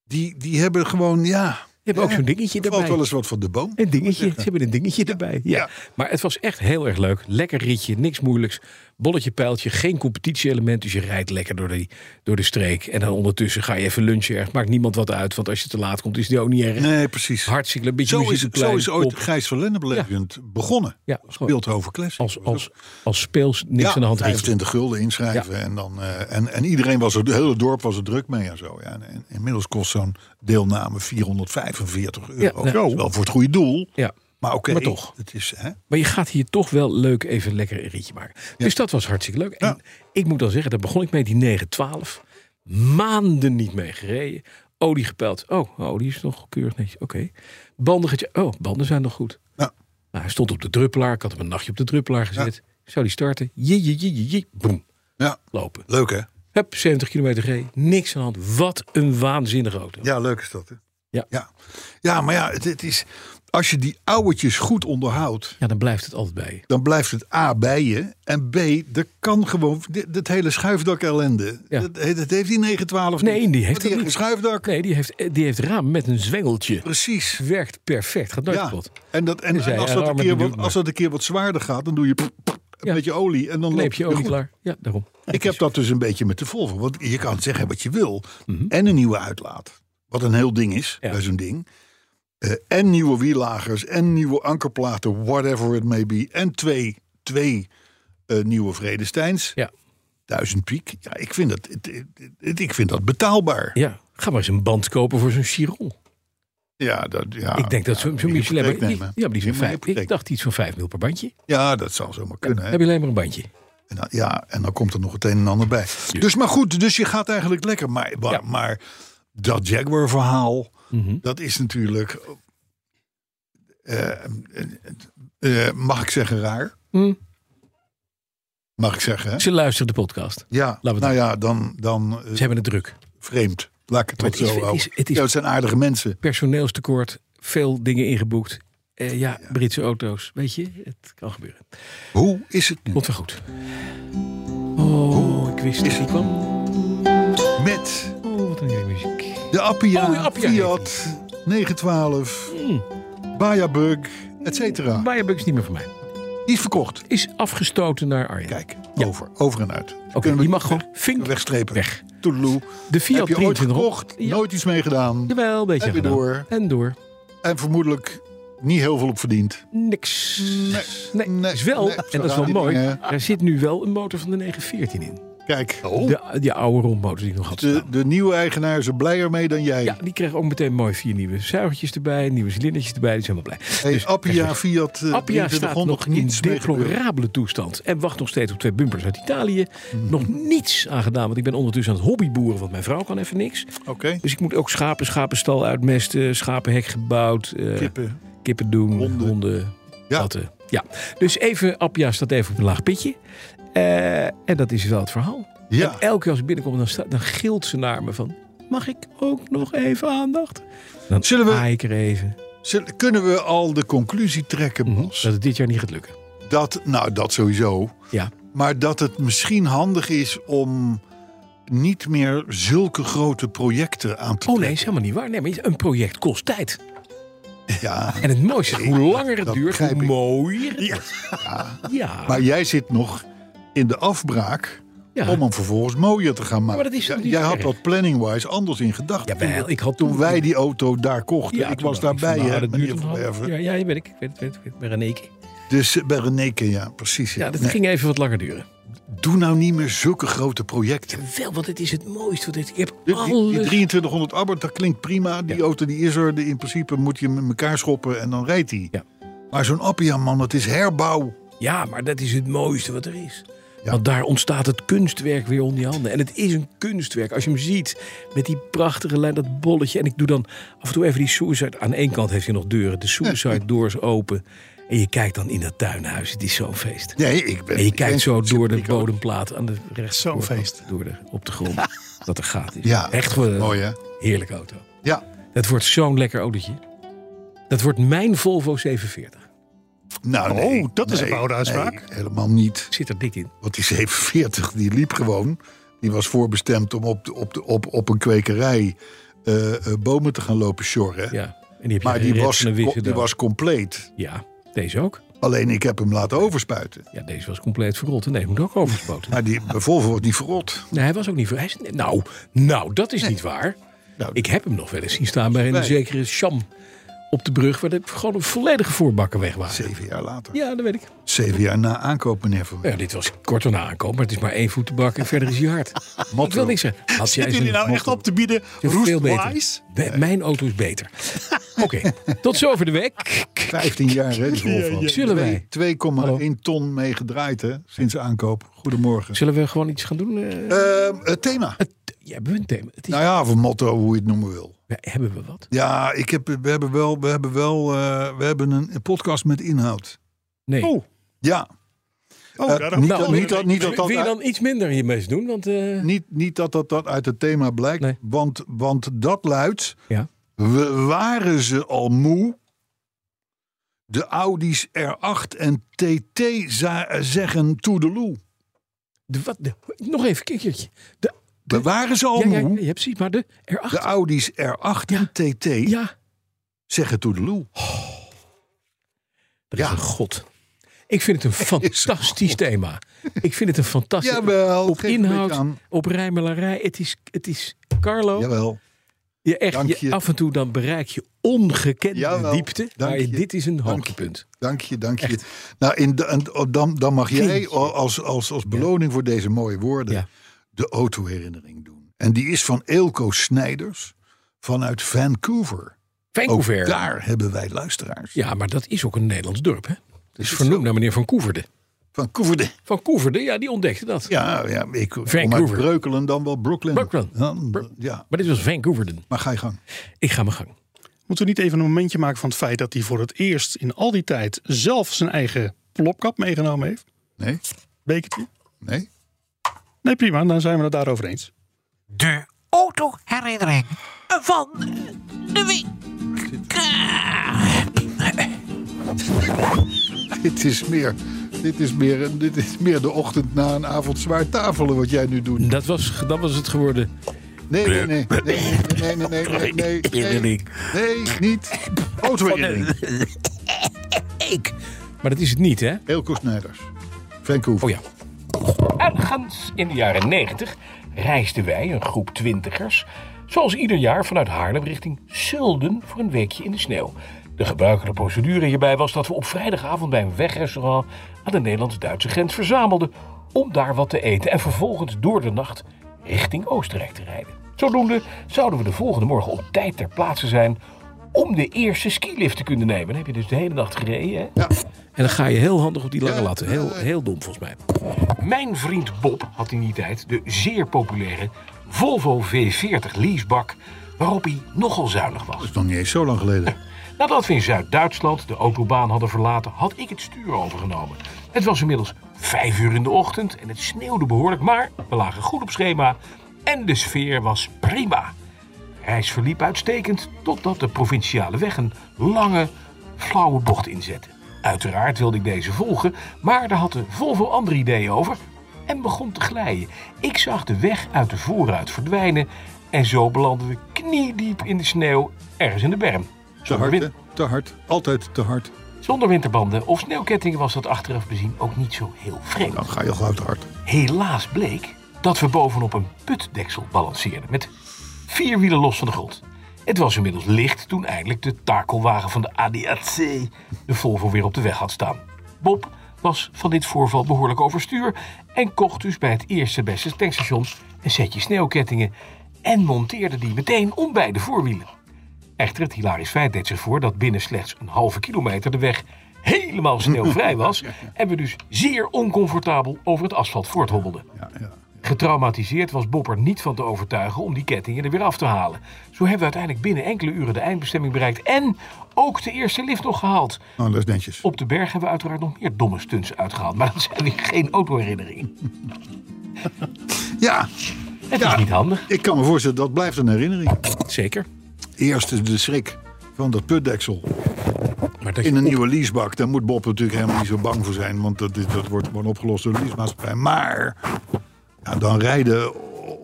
S2: Die, die hebben gewoon, ja.
S3: Je hebt ook
S2: ja,
S3: zo'n dingetje
S2: er valt
S3: erbij.
S2: wel eens wat van de boom.
S3: Een dingetje. Ze hebben een dingetje erbij. Ja.
S2: Ja.
S3: Maar het was echt heel erg leuk. Lekker rietje, niks moeilijks. Bolletje, pijltje, geen competitieelement. Dus je rijdt lekker door, de door de streek. En dan ondertussen ga je even lunchen ergens. Maakt niemand wat uit, want als je te laat komt is die ook niet erg.
S2: Nee, precies.
S3: Hartstikke leuk. Beetje
S2: Zo
S3: muziek
S2: is,
S3: op
S2: zo
S3: klein,
S2: is ooit
S3: op.
S2: Gijs van Lenneplegend begonnen.
S3: Ja,
S2: Als
S3: gewoon
S2: Beeldhoven Classic.
S3: als, als, als speels niks
S2: ja,
S3: aan de hand rietje.
S2: 25 gulden inschrijven. En, dan, eh, en, en iedereen was er, het hele dorp was er druk mee en zo. Ja. En, en inmiddels kost zo'n deelname 445 euro.
S3: Ja, nou.
S2: Dat is wel voor het goede doel.
S3: Ja.
S2: Maar oké,
S3: Maar toch.
S2: Het is, hè?
S3: Maar je gaat hier toch wel leuk even lekker een rietje maken. Dus dat was hartstikke leuk. En
S2: Ja.
S3: ik moet dan zeggen, daar begon ik mee, die 912. Maanden niet mee gereden. Olie gepeld. Oh, olie is nog keurig netjes. Oké. Banden getje- Oh, banden zijn nog goed.
S2: Ja.
S3: Nou, hij stond op de druppelaar. Ik had hem een nachtje op de druppelaar gezet. Zou die starten? Je, je, je, je, je. Boem.
S2: Ja,
S3: Lopen.
S2: leuk hè?
S3: Hup, 70 kilometer gereden. Niks aan de hand. Wat een waanzinnige auto.
S2: Ja, leuk is dat hè?
S3: Ja.
S2: Ja, ja maar ja, het, het is, als je die ouwetjes goed onderhoudt...
S3: Ja, dan blijft het altijd bij je.
S2: dan blijft het A bij je. En B, er kan gewoon... dit- Dat hele schuifdak ellende.
S3: Ja.
S2: Dat, dat heeft die 912
S3: Nee,
S2: niet.
S3: die heeft
S2: Want
S3: dat
S2: een
S3: niet.
S2: schuifdak.
S3: Nee, die heeft, eh, die heeft raam met een zwengeltje.
S2: Precies.
S3: Werkt perfect. Gaat nooit kapot.
S2: En, dat, en,
S3: Dus jij,
S2: en als,
S3: ja,
S2: dat een
S3: Robert,
S2: keer
S3: die
S2: wat,
S3: doet
S2: als dat een keer wat zwaarder gaat, dan doe je pff, pff, een
S3: Ja.
S2: beetje olie. En dan
S3: Kneep
S2: loopt
S3: je
S2: het weer
S3: ook niet
S2: goed.
S3: klaar. Ja, daarom.
S2: Ik heb dat dus een beetje met de Volvo. Want je kan zeggen wat je wil. En een nieuwe uitlaat. Wat een heel ding is
S3: Mhm. Ja.
S2: bij zo'n ding. Eh, en nieuwe wielagers. En nieuwe ankerplaten. Whatever it may be. En twee, twee eh, nieuwe Vredesteins.
S3: Ja.
S2: Duizend piek. Ja, ik vind dat, het, het- het- ik vind dat betaalbaar. Ja,
S3: ja, ga maar eens een band kopen voor zo'n Chiron.
S2: dat, ja,
S3: ik denk dat
S2: Ah, ja,
S3: zo'n
S2: moet
S3: zo
S2: je
S3: Michelin...
S2: hypotheek
S3: maar- die-
S2: nemen.
S3: ja, maar die
S2: Je
S3: is
S2: moet
S3: vijf,
S2: hypotheek
S3: ik dacht iets van 5 mil per bandje.
S2: Ja, dat zal zomaar kunnen. hè?
S3: Heb je alleen maar een bandje.
S2: En dan- ja, en dan komt er nog het een en ander bij. Dus maar goed, dus je gaat eigenlijk lekker. Maar, maar,
S3: Ja.
S2: maar dat Jaguar verhaal,
S3: Mhm.
S2: dat is natuurlijk... eh, eh, eh, mag ik zeggen raar?
S3: Hm.
S2: Mag ik zeggen, hè?
S3: Ze luisteren de podcast.
S2: Ja,
S3: we het
S2: nou ja, dan, dan eh,
S3: Ze hebben het druk.
S2: vreemd. Laat ik het
S3: Maar
S2: wat
S3: het is-
S2: zo
S3: het is-
S2: houden.
S3: het is-
S2: Ja, het zijn aardige mensen.
S3: Personeelstekort, veel dingen ingeboekt. Eh, ja, Britse auto's. Weet je, het kan gebeuren.
S2: Hoe is het nu?
S3: Komt wel goed. Oh, ik wist dat die kwam.
S2: Met
S3: Oh, wat een heerlijke muziek.
S2: de Appia,
S3: Oh, de Appia Hmm.
S2: Fiat, 912, Bayabug, et cetera.
S3: Meyerbeuk is niet meer voor mij.
S2: Die is verkocht.
S3: Is afgestoten naar Arjen.
S2: Kijk, over, over en uit.
S3: Oké, die mag gewoon vink
S2: wegstrepen.
S3: weg.
S2: Toedeloe.
S3: De Fiat
S2: Heb je ooit
S3: 2300.
S2: gekocht,
S3: Ja.
S2: nooit iets mee gedaan
S3: Jawel, een beetje
S2: En weer
S3: gedaan.
S2: door.
S3: En door.
S2: en vermoedelijk niet heel veel op verdiend.
S3: Niks.
S2: Nee,
S3: Nee,
S2: nee,
S3: is wel,
S2: nee,
S3: en dat is wel
S2: die
S3: mooi,
S2: dingen.
S3: er zit nu wel een motor van de 914 in.
S2: Kijk,
S3: De, die oude rondmotor die ik nog had
S2: de,
S3: staan.
S2: de nieuwe eigenaar is er blijer mee dan jij.
S3: Ja, die kreeg ook meteen mooi vier nieuwe zuigertjes erbij, nieuwe cilindertjes erbij. Die zijn helemaal blij.
S2: Hey,
S3: Dus-
S2: Appia, Fiat, eh,
S3: Appia
S2: 2300
S3: staat nog in
S2: niets mee gebeurd. Mhm.
S3: deplorabele toestand. En wacht nog steeds op twee bumpers uit Italië. Nog niets aan gedaan, want ik ben ondertussen aan het hobbyboeren. Want mijn vrouw kan even niks.
S2: Oké,
S3: Dus ik moet ook schapen, schapenstal uitmesten. Schapenhek gebouwd. eh,
S2: kippen.
S3: kippen doen, honden,
S2: Honden. Ja.
S3: katten. Ja. Dus even, Appia staat even op een laag pitje. Eh, en dat is wel het verhaal.
S2: Ja,
S3: En elke keer als ik binnenkom, dan, sta- dan gilt ze naar me van... Mag ik ook nog even aandacht? Dan
S2: Zullen we-
S3: aai ik er even.
S2: Zullen- kunnen we al de conclusie trekken, Bas?
S3: Dat het dit jaar niet gaat lukken.
S2: Dat, nou, dat sowieso.
S3: Ja.
S2: Maar dat het misschien handig is om niet meer zulke grote projecten aan te
S3: Oh nee, is helemaal niet waar. Nee, maar een project kost tijd.
S2: Ja,
S3: En het mooiste is, hoe langer het
S2: dat
S3: duurt, hoe
S2: begrijp ik.
S3: mooier het wordt. Ja.
S2: maar jij zit nog in de afbraak
S3: Ja.
S2: om hem vervolgens mooier te gaan maken.
S3: maar dat is toch
S2: Ja,
S3: niet
S2: jij
S3: erg?
S2: had dat planning-wise anders in gedachten.
S3: Jawel, ik had
S2: Toen wij die auto daar kochten,
S3: Ja,
S2: ik
S3: toen
S2: was
S3: dacht
S2: daarbij,
S3: van, nou,
S2: hè,
S3: dat
S2: meneer
S3: duurt
S2: Van
S3: een half-
S2: Werven.
S3: Ja, ja, hier ben ik. Ik weet het, weet het, weet het. bij Reneke.
S2: Dus eh, bij Reneke, ja, precies.
S3: Ja, dat
S2: Nee,
S3: ging even wat langer duren.
S2: Doe nou niet meer zulke grote projecten.
S3: Wel, want het is het mooiste. Want het- ik heb
S2: Die, die- die
S3: alles...
S2: 2300 Abarth, dat klinkt prima. Die auto die is er. die- in principe moet je hem in elkaar schoppen en dan rijdt hij.
S3: Ja.
S2: Maar zo'n Appia, man, dat is herbouw.
S3: Ja, maar dat is het mooiste wat er is.
S2: Ja.
S3: Want daar ontstaat het kunstwerk weer onder je handen. En het is een kunstwerk. Als je hem ziet met die prachtige lijn, dat bolletje. En ik doe dan af en toe even die suicide. Aan één kant heeft hij nog deuren. De suicide doors open. En je kijkt dan in dat tuinhuis. Het is zo'n feest.
S2: Nee, ik ben...
S3: En je kijkt
S2: ik-
S3: zo door de bodemplaat aan de rechts.
S4: Zo'n feest.
S3: Door de, op de grond. dat er gaat. Is.
S2: Ja,
S3: Echt eh, wel een
S2: mooi, hè?
S3: heerlijke auto.
S2: Ja,
S3: Dat wordt zo'n lekker autootje. Dat wordt mijn Volvo 47.
S2: nou
S4: Oh,
S2: nee,
S4: dat is
S2: nee,
S4: een oude uitspraak.
S2: nee, helemaal niet.
S3: Zit er dik in.
S2: Want die 47, die liep gewoon. Die was voorbestemd om op, de, op, de, op, op een kwekerij eh, eh, bomen te gaan lopen sjorren.
S3: Ja. En die heb je
S2: Maar die
S3: gered
S2: was,
S3: van een wisse
S2: co- die
S3: dood.
S2: was compleet.
S3: Ja, deze ook.
S2: Alleen ik heb hem laten overspuiten.
S3: Ja, deze was compleet verrot. En deze moet ook overspoten.
S2: Maar die Volvo wordt niet verrot.
S3: nee, hij was ook niet ver... hij is- Nou, nou, dat is niet waar.
S2: Nou,
S3: Ik heb hem nog wel eens zien staan bij een
S2: Nee.
S3: zekere Sham op de brug... waar de, gewoon een volledige voorbakken weg waren.
S2: Zeven jaar later.
S3: Ja, dat weet ik. Nou
S2: Zeven jaar na aankoop, meneer Van
S3: Ja, dit was kort daarna aankoop, maar het is maar één voet te bakken en verder is hij hard. Ik wil niks zeggen. Had jij
S4: Zitten jullie
S3: zijn
S4: nou echt
S3: motto-
S4: op te bieden?
S3: Ja, veel beter.
S4: Roestwise?
S3: Bij- Mijn auto is beter. Oké, tot zover de week.
S2: 15 jaar, hè, die Volvo.
S3: Zullen wij?
S2: Twee-
S3: Hallo.
S2: 2,1 ton mee gedraaid, hè, sinds aankoop. Goedemorgen.
S3: Zullen we gewoon iets gaan doen? eh?
S2: Ehm, het thema.
S3: het, jij bent een thema. Het is,
S2: Nou ja, of een motto, hoe je het noemen wil.
S3: Ja, Hebben we wat?
S2: Ja, ik heb, we hebben wel, we hebben wel eh, we hebben een, een podcast met inhoud.
S3: Nee.
S4: Oh,
S2: Ja,
S4: Oh,
S2: Eh,
S4: daar
S2: niet
S4: had ik
S3: dat-
S4: al-
S2: niet dat- niet dat-
S3: Wil je dan iets minder hiermee eens doen? Want, eh,
S2: niet, niet dat, dat dat uit het thema blijkt,
S3: Nee.
S2: want, want dat luidt...
S3: Ja.
S2: We waren ze al moe? De Audi's R8 en TT za- zeggen toedeloe.
S3: de, wat, de- nog even een keertje. De,
S2: We waren ze al
S3: ja, ja,
S2: moe?
S3: ja, precies, maar de R8.
S2: De Audi's R8 en TT
S3: ja,
S2: zeggen toedeloe.
S3: dat is
S2: Ja.
S3: een god. Ik vind het een fantastisch thema. Ik vind het een fantastisch...
S2: Jawel,
S3: op
S2: geef een beetje
S3: inhoud,
S2: aan.
S3: op rijmelarij. Het is, het is Carlo.
S2: Jawel.
S3: Je echt,
S2: Dank
S3: je-
S2: je.
S3: af en toe dan bereik je ongekende
S2: Jawel,
S3: diepte.
S2: dank
S3: maar je-
S2: je.
S3: dit is een
S2: Dank
S3: hoogtepunt.
S2: Dank je, dank je. Nou, in de- en- oh, dan, dan mag jij
S3: Kindje.
S2: als, als, als beloning voor deze mooie woorden
S3: Ja.
S2: de autoherinnering doen. En die is van Eelco Snijders vanuit Vancouver.
S3: Vancouver.
S2: Ook Oh, daar hebben wij luisteraars.
S3: Ja, maar dat is ook een Nederlands dorp, hè? Het is
S2: het
S3: vernoemd
S2: zo?
S3: naar meneer Van Koeverde.
S2: Vancouver. de-
S3: Van Koeverde, ja, die ontdekte dat.
S2: Ja, ja ik kom uit
S3: Vancouver.
S2: Breukelen, dan wel Brooklyn.
S3: Brooklyn.
S2: Dan-
S3: Bro-
S2: ja,
S3: Maar dit was Vancouverden.
S2: maar ga je gang.
S3: Ik ga mijn gang.
S4: Moeten we niet even een momentje maken van het feit dat hij voor het eerst in al die tijd zelf zijn eigen plopkap meegenomen heeft?
S2: Nee,
S4: Bekertje?
S2: nee.
S4: Nee, prima, dan zijn we het daarover eens.
S5: De autoherinnering van de week.
S2: Dit is meer, dit is meer, een- dit is meer de ochtend na een avond zwaar tafelen wat jij nu doet.
S3: Dat was, dat was het geworden.
S2: Nee, nee, nee. Nee, nee, nee, nee, nee, nee, nee, nee, nee, niet. Autoherinnering.
S3: Maar dat is het niet, hè?
S2: Eelco Snijders. Vancouver.
S3: Oh ja. Ergens in de jaren 90 reisden wij, een groep twintigers, zoals ieder jaar vanuit Haarlem richting Zulden voor een weekje in de sneeuw. De gebruikelijke procedure hierbij was dat we op vrijdagavond bij een wegrestaurant aan de Nederlands-Duitse grens verzamelden om daar wat te eten en vervolgens door de nacht richting Oostenrijk te rijden. Zodoende zouden we de volgende morgen op tijd ter plaatse zijn om de eerste skilift te kunnen nemen. Dan heb je dus de hele nacht gereden. Hè? En dan ga je heel handig op die lange latten. Heel, heel dom volgens mij. Mijn vriend Bob had in die tijd de zeer populaire Volvo V40 leasebak, waarop hij nogal zuinig was.
S2: Dat is nog niet eens zo lang geleden.
S3: Nadat we in Zuid-Duitsland de autobaan hadden verlaten, had ik het stuur overgenomen. Het was inmiddels vijf uur in de ochtend en het sneeuwde behoorlijk, maar we lagen goed op schema en de sfeer was prima. De reis verliep uitstekend totdat de provinciale weg een lange, flauwe bocht inzette. Uiteraard wilde ik deze volgen, maar daar had de Volvo andere ideeën over en begon te glijden. Ik zag de weg uit de voorruit verdwijnen en zo belanden we kniediep in de sneeuw ergens in de berm.
S2: Te hard, hè? Te hard. Altijd te hard.
S3: Zonder winterbanden of sneeuwkettingen was dat achteraf bezien ook niet zo heel vreemd.
S2: Dan ga je gauw te hard.
S3: Helaas bleek dat we bovenop een putdeksel balanceerden met vier wielen los van de grond. Het was inmiddels licht toen eindelijk de takelwagen van de ADAC de Volvo weer op de weg had staan. Bob was van dit voorval behoorlijk overstuur en kocht dus bij het eerste beste tankstation een setje sneeuwkettingen en monteerde die meteen om bij de voorwielen. Echter, het hilarisch feit deed zich voor dat binnen slechts een halve kilometer de weg helemaal sneeuwvrij was en we dus zeer oncomfortabel over het asfalt voorthobbelden.
S2: Ja, ja.
S3: Getraumatiseerd was Bob er niet van te overtuigen om die kettingen er weer af te halen. Zo hebben we uiteindelijk binnen enkele uren de eindbestemming bereikt en ook de eerste lift nog gehaald.
S2: Nou, dat is netjes.
S3: Op de berg hebben we uiteraard nog meer domme stunts uitgehaald, maar dat zijn weer geen autoherinneringen.
S2: Ja,
S3: Het is niet handig.
S2: ik kan me voorstellen, dat blijft een herinnering.
S3: Zeker.
S2: Eerst is de schrik van dat putdeksel
S3: Maar dat
S2: in een nieuwe leasebak. Daar moet Bob natuurlijk helemaal niet zo bang voor zijn. Want dat, is- dat wordt gewoon opgelost door de leasemaatschappij. Maar ja, dan rijden,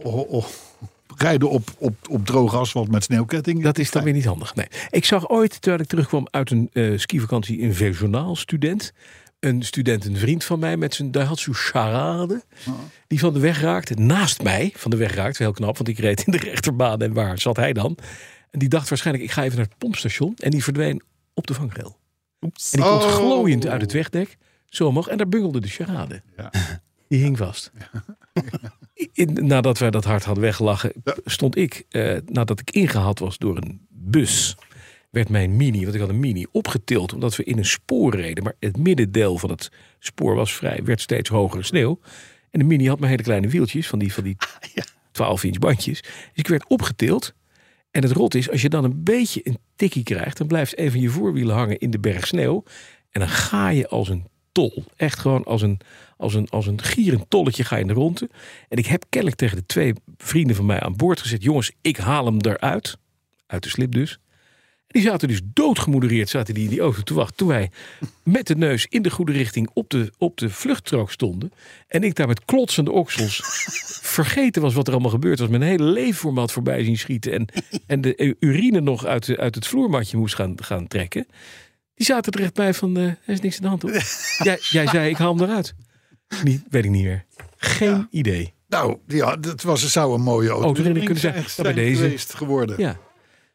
S2: o- o- rijden op, op, op droog asfalt met sneeuwketting.
S3: Dat is dan weer niet handig. Nee. Ik zag ooit, terwijl ik terugkwam uit een eh, skivakantie in Verzonaal, student. Een student, een vriend van mij, met zijn Daihatsu Charade. Die van de weg raakte, naast mij van de weg raakte. Heel knap, want ik reed in de rechterbaan. En waar zat hij dan? En die dacht waarschijnlijk, ik ga even naar het pompstation. En die verdween op de vangrail. En die komt
S2: Oh.
S3: glooiend uit het wegdek. Zo omhoog. En daar bungelde de charade.
S2: Ja.
S3: Die hing vast. In- nadat wij dat hard hadden weggelachen,
S2: Ja.
S3: stond ik, eh, nadat ik ingehaald was door een bus, werd mijn mini, want ik had een mini, opgetild omdat we in een spoor reden. Maar het middendeel van het spoor was vrij, werd steeds hogere sneeuw. En de mini had maar hele kleine wieltjes van die, van die 12 inch bandjes. Dus ik werd opgetild. En het rot is, als je dan een beetje een tikkie krijgt, dan blijft een van je voorwielen hangen in de berg sneeuw. En dan ga je als een tol. Echt gewoon als een, als een, als een gierend tolletje ga je in de ronde. En ik heb kennelijk tegen de twee vrienden van mij aan boord gezet. Jongens, ik haal hem eruit. Uit de slip dus. En die zaten dus doodgemoedereerd zaten die in die auto te wachten. Toen wij met de neus in de goede richting op de, op de vluchtstrook stonden. En ik daar met klotsende oksels vergeten was wat er allemaal gebeurd was. Mijn hele leefformaat voorbij zien schieten. En, en de eh, urine nog uit, de- uit het vloermatje moest gaan, gaan trekken. Die zaten er echt bij van, eh, er is niks aan de hand. hoor. jij, jij zei, ik haal hem eruit. Niet, weet ik niet meer. Geen idee.
S2: Nou, ja, dat was, zou een mooie auto
S3: Autoherinnering kunnen zijn. Nou, bij deze.
S2: geweest geworden.
S3: Ja.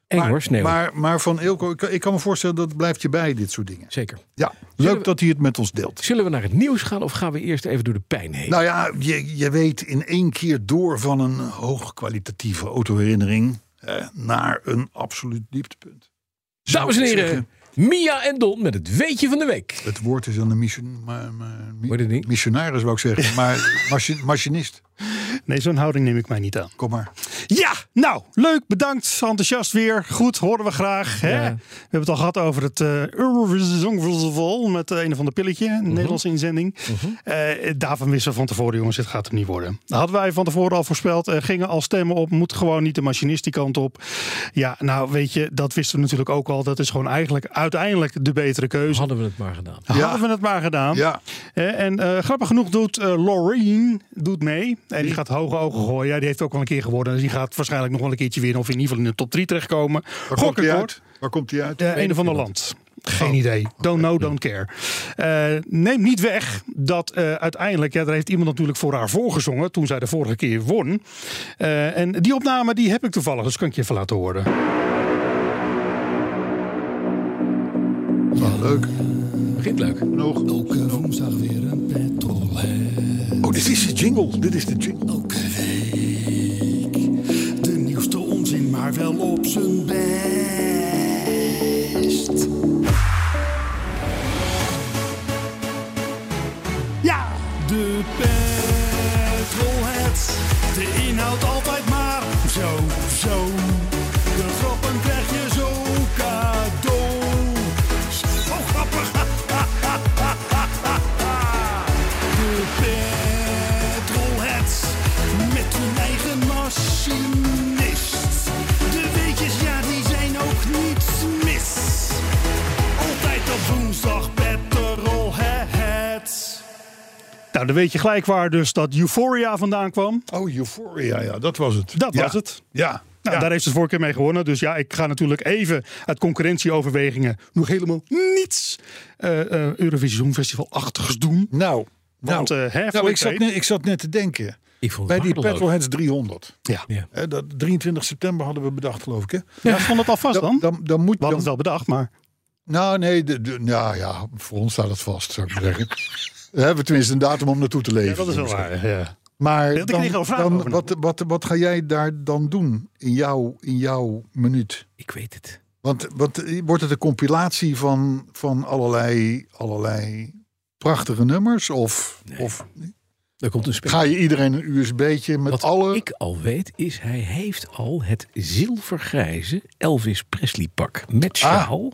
S3: Eng hoor, sneeuw.
S2: Maar, maar van Eelco, ik, kan- ik kan me voorstellen dat het blijft je bij, dit soort dingen.
S3: Zeker.
S2: Ja,
S3: Zullen
S2: leuk
S3: we-
S2: dat hij het met ons deelt.
S3: Zullen we naar het nieuws gaan of gaan we eerst even door de pijn heen?
S2: Nou ja, je, je weet in één keer door van een hoogkwalitatieve autoherinnering eh, naar een absoluut dieptepunt.
S3: Dames en
S2: ik
S3: heren,
S2: zeggen.
S3: Mia en Don met het weetje van de week.
S2: Het woord is aan de mission, maar, maar- mi-
S3: Wordt het niet?
S2: missionaris, wou ik zeggen, maar machi- machinist.
S4: Nee, zo'n houding neem ik mij niet aan.
S2: Kom maar.
S4: Ja, nou, leuk, bedankt, enthousiast weer. Goed, horen we graag. Hè?
S3: Ja.
S4: We hebben het al gehad over het eh Eurovision Songfestival met eh, een of ander pilletje, een Nederlandse inzending. Eh, daarvan wisten we van tevoren, jongens, dit gaat hem niet worden. Dat hadden wij van tevoren al voorspeld, eh, gingen al stemmen op, moet gewoon niet de machinist die kant op. Ja, nou weet je, dat wisten we natuurlijk ook al. Dat is gewoon eigenlijk uiteindelijk de betere keuze.
S3: Hadden we het maar gedaan.
S4: Hadden we het maar gedaan.
S2: Ja,
S4: Hè, En eh, grappig genoeg doet eh Laureen doet mee. En die gaat hoge ogen gooien. Ja, die heeft ook al een keer gewonnen. Dus die gaat waarschijnlijk nog wel een keertje winnen. Of in ieder geval in de top 3 terechtkomen.
S2: waar komt
S4: ik
S2: hij
S4: hoor.
S2: uit? Waar komt hij uit?
S4: Eh, een of ander land. Geen
S2: Oh,
S4: idee. Don't know, don't care. Eh, neem niet weg dat eh, uiteindelijk, ja, daar heeft iemand natuurlijk voor haar voorgezongen toen zij de vorige keer won. Eh, en die opname die heb ik toevallig, dus kan ik je even laten horen.
S2: Leuk.
S3: Begint leuk.
S2: Genoeg. Nou,
S6: Elke woensdag weer een petrolhead.
S2: Oh, dit Dit is de jingle. Dit is de jingle.
S6: Elke week de nieuwste onzin, maar wel op zijn best. Ja, de petrolheads. De inhoud altijd maar zo, zo. De grappen krijg je zo cadeau. Zo grappig. De petrolheads. Met hun eigen machinist. De weetjes, ja, die zijn ook niets mis. Altijd op woensdag petrolheads.
S4: Nou, dan weet je gelijk waar dus dat Euphoria vandaan kwam.
S2: Oh, Euphoria, ja, dat was het.
S4: Dat
S2: Ja.
S4: was het.
S2: Ja.
S4: Nou,
S2: Ja.
S4: daar heeft ze het vorige keer mee gewonnen. Dus ja, ik ga natuurlijk even uit concurrentieoverwegingen nog helemaal niets eh eh Eurovisie Songfestival-achtigs doen.
S2: Nou, nou,
S4: Want, eh, hè,
S2: nou
S4: voor
S2: ik, zat
S4: het
S2: net, ik zat net te denken.
S3: Ik vond
S2: Bij
S3: het
S2: die
S3: waardeloos.
S2: Petrolheads 300.
S4: Ja.
S3: Ja.
S2: Hè, dat 23 september hadden we bedacht, geloof ik. Hè?
S4: Ja, ik vond het alvast dan.
S2: Dan,
S4: We
S2: dan, dan moet
S4: hadden
S2: dan,
S4: het wel bedacht, maar...
S2: Nou, nee, de, de- nou ja, voor ons staat het vast, zou ik maar zeggen. We hebben tenminste een datum om naartoe te leven.
S4: waar, ja.
S2: Maar
S4: Ik kreeg al
S2: dan,
S4: vragen
S2: dan,
S4: over
S2: wat, wat, wat ga jij daar dan doen in jouw, in jouw minuut?
S3: Ik weet het.
S2: Want, want eh, wordt het een compilatie van, van allerlei, allerlei prachtige nummers? Of, of
S3: Er komt een spel.
S2: ga je iedereen een USB'tje met
S3: Wat
S2: alle...
S3: ik al weet is, hij heeft al het zilvergrijze Elvis Presley pak
S2: Ah.
S3: met sjaal.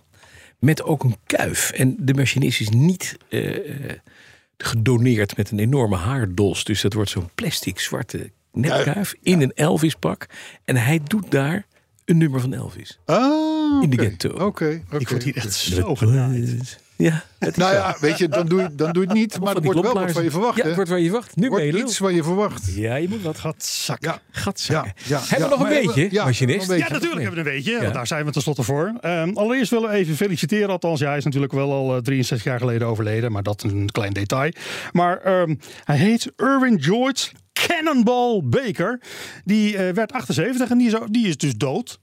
S3: Met ook een kuif. En de machinist is niet eh, eh, gedoneerd met een enorme haardos. Dus dat wordt zo'n plastic zwarte nepkuif in een Elvis pak. En hij doet daar een nummer van Elvis.
S2: Ah,
S3: In de
S2: oké.
S3: ghetto.
S2: Oké, oké.
S4: echt
S3: Ja, het is
S2: Nou
S3: wel.
S2: ja, weet je, dan doe je, dan doe je het niet, maar
S3: Van
S2: het wordt
S3: die
S2: wel wat
S3: klopplaarzen.
S2: van je verwacht.
S3: Ja,
S2: hè?
S3: het wordt waar je verwacht. Nu ben je
S2: wordt
S3: lul.
S2: iets van je verwacht.
S3: Ja, je moet wat gaan.
S4: Gatzak.
S2: Ja,
S3: Gatzakken.
S2: Ja, ja,
S3: hebben
S2: ja.
S3: we nog
S2: Maar
S3: een
S2: hebben-
S3: beetje,
S2: ja,
S3: machinist?
S2: nog een
S4: Ja, natuurlijk
S3: Nee.
S4: hebben we een beetje.
S3: Ja.
S4: Want daar zijn we tenslotte voor. Ehm, allereerst willen we even feliciteren. Althans, ja, hij is natuurlijk wel al eh, 63 jaar geleden overleden. Maar dat een klein detail. Maar ehm, hij heet Irwin George Cannonball Baker. Die eh, werd 78 en die is, die is dus dood.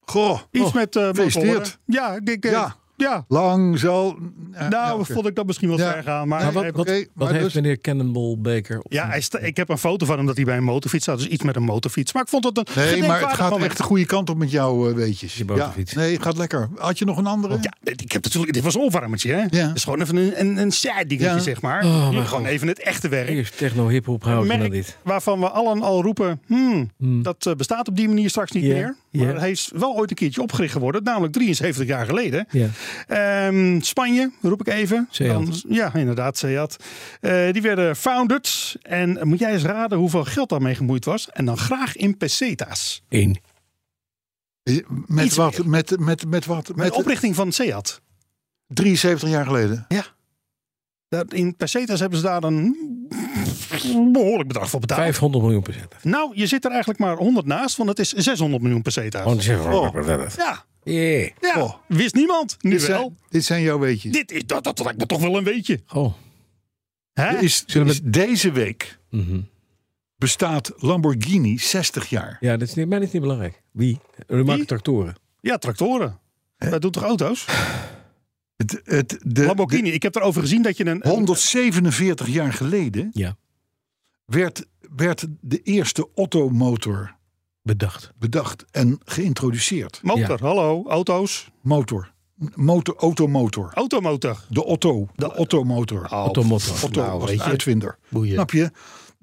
S2: Goh,
S4: Iets
S2: oh,
S4: met eh
S2: gefeliciteerd.
S4: motoren. Ja, ik denk... eh,
S2: Ja.
S4: ja.
S2: lang zal...
S4: Nou, vond ik dat misschien wel
S2: Ja. Nou,
S4: ver gaan. Maar,
S2: Nee,
S3: Maar wat,
S4: hij-
S3: wat,
S2: Oké,
S3: wat
S2: maar
S3: heeft
S2: dus-
S3: meneer Cannonball Baker? op
S4: ja,
S3: zijn-
S4: hij sta- ik heb een foto van hem dat hij bij een motorfiets staat. Dus iets met een motorfiets. Maar ik vond dat een
S2: Nee, maar het
S4: gedenkwaardig
S2: gaat
S4: moment.
S2: echt de goede kant op met jou, eh, weetjes.
S3: Je boterfiets.
S2: nee, het gaat lekker. Had je nog een andere?
S4: Ja, ik heb natuurlijk, dit was een opwarmertje, hè?
S2: Ja.
S4: Het is gewoon even een, een, een sad dingetje,
S2: Ja.
S4: zeg maar.
S3: Oh,
S4: Je
S3: mijn
S4: hebt gewoon even het echte werk.
S3: Eerst techno hip-hop
S4: Een
S3: houden dan
S4: merk
S3: dit.
S4: waarvan we allen al roepen, hmm, dat eh, bestaat op die manier straks niet
S3: Ja,
S4: meer.
S3: ja.
S4: Maar het heeft wel ooit een keertje opgericht geworden, namelijk 73 jaar geleden.
S3: Ja.
S4: Ehm, Spanje, roep ik even.
S3: Seat.
S4: ja, inderdaad, Seat. Eh, die werden founded. En moet jij eens raden hoeveel geld daarmee gemoeid was? En dan graag in peseta's.
S3: Eén.
S2: Eh, Met
S4: Iets
S2: wat?
S4: meer.
S2: Met, met, met wat?
S4: Met
S2: Met
S4: de oprichting van Seat.
S2: 73 jaar geleden.
S4: Daar- In pesetas hebben ze daar een behoorlijk bedrag voor betaald.
S3: 500 miljoen procent.
S4: Nou, je zit er eigenlijk maar 100 naast, want het is 600 miljoen pesetas.
S3: Want ze
S2: Oh.
S4: Ja,
S3: Yeah.
S4: ja.
S2: Oh.
S4: wist niemand. Nu
S2: Dit
S4: wel.
S2: zijn, dit zijn jouw weetjes.
S4: Dit is, dat, dat lijkt me toch wel een beetje.
S3: Oh.
S4: Hè?
S2: Is,
S3: Zullen we-
S2: is deze week
S3: Mhm.
S2: bestaat Lamborghini 60 jaar.
S3: Ja, dat is niet, maar dat is niet belangrijk. Wie? Eh, We maken tractoren.
S4: Ja, tractoren. Dat doen toch auto's?
S2: Het, het, de,
S4: Lamborghini. ik heb erover gezien dat je een...
S2: de- 147 jaar geleden
S3: Ja.
S2: werd, werd de eerste Otto-motor
S3: Bedacht.
S2: bedacht en geïntroduceerd.
S4: Motor, hallo, auto's.
S2: Motor. Motor, automotor.
S4: Automotor.
S2: De Otto. De Otto-motor.
S3: Automotto.
S2: Otto
S4: Nou,
S2: was
S4: weet
S2: de
S4: je.
S2: uitvinder.
S4: Boeien.
S2: Snap je? Ik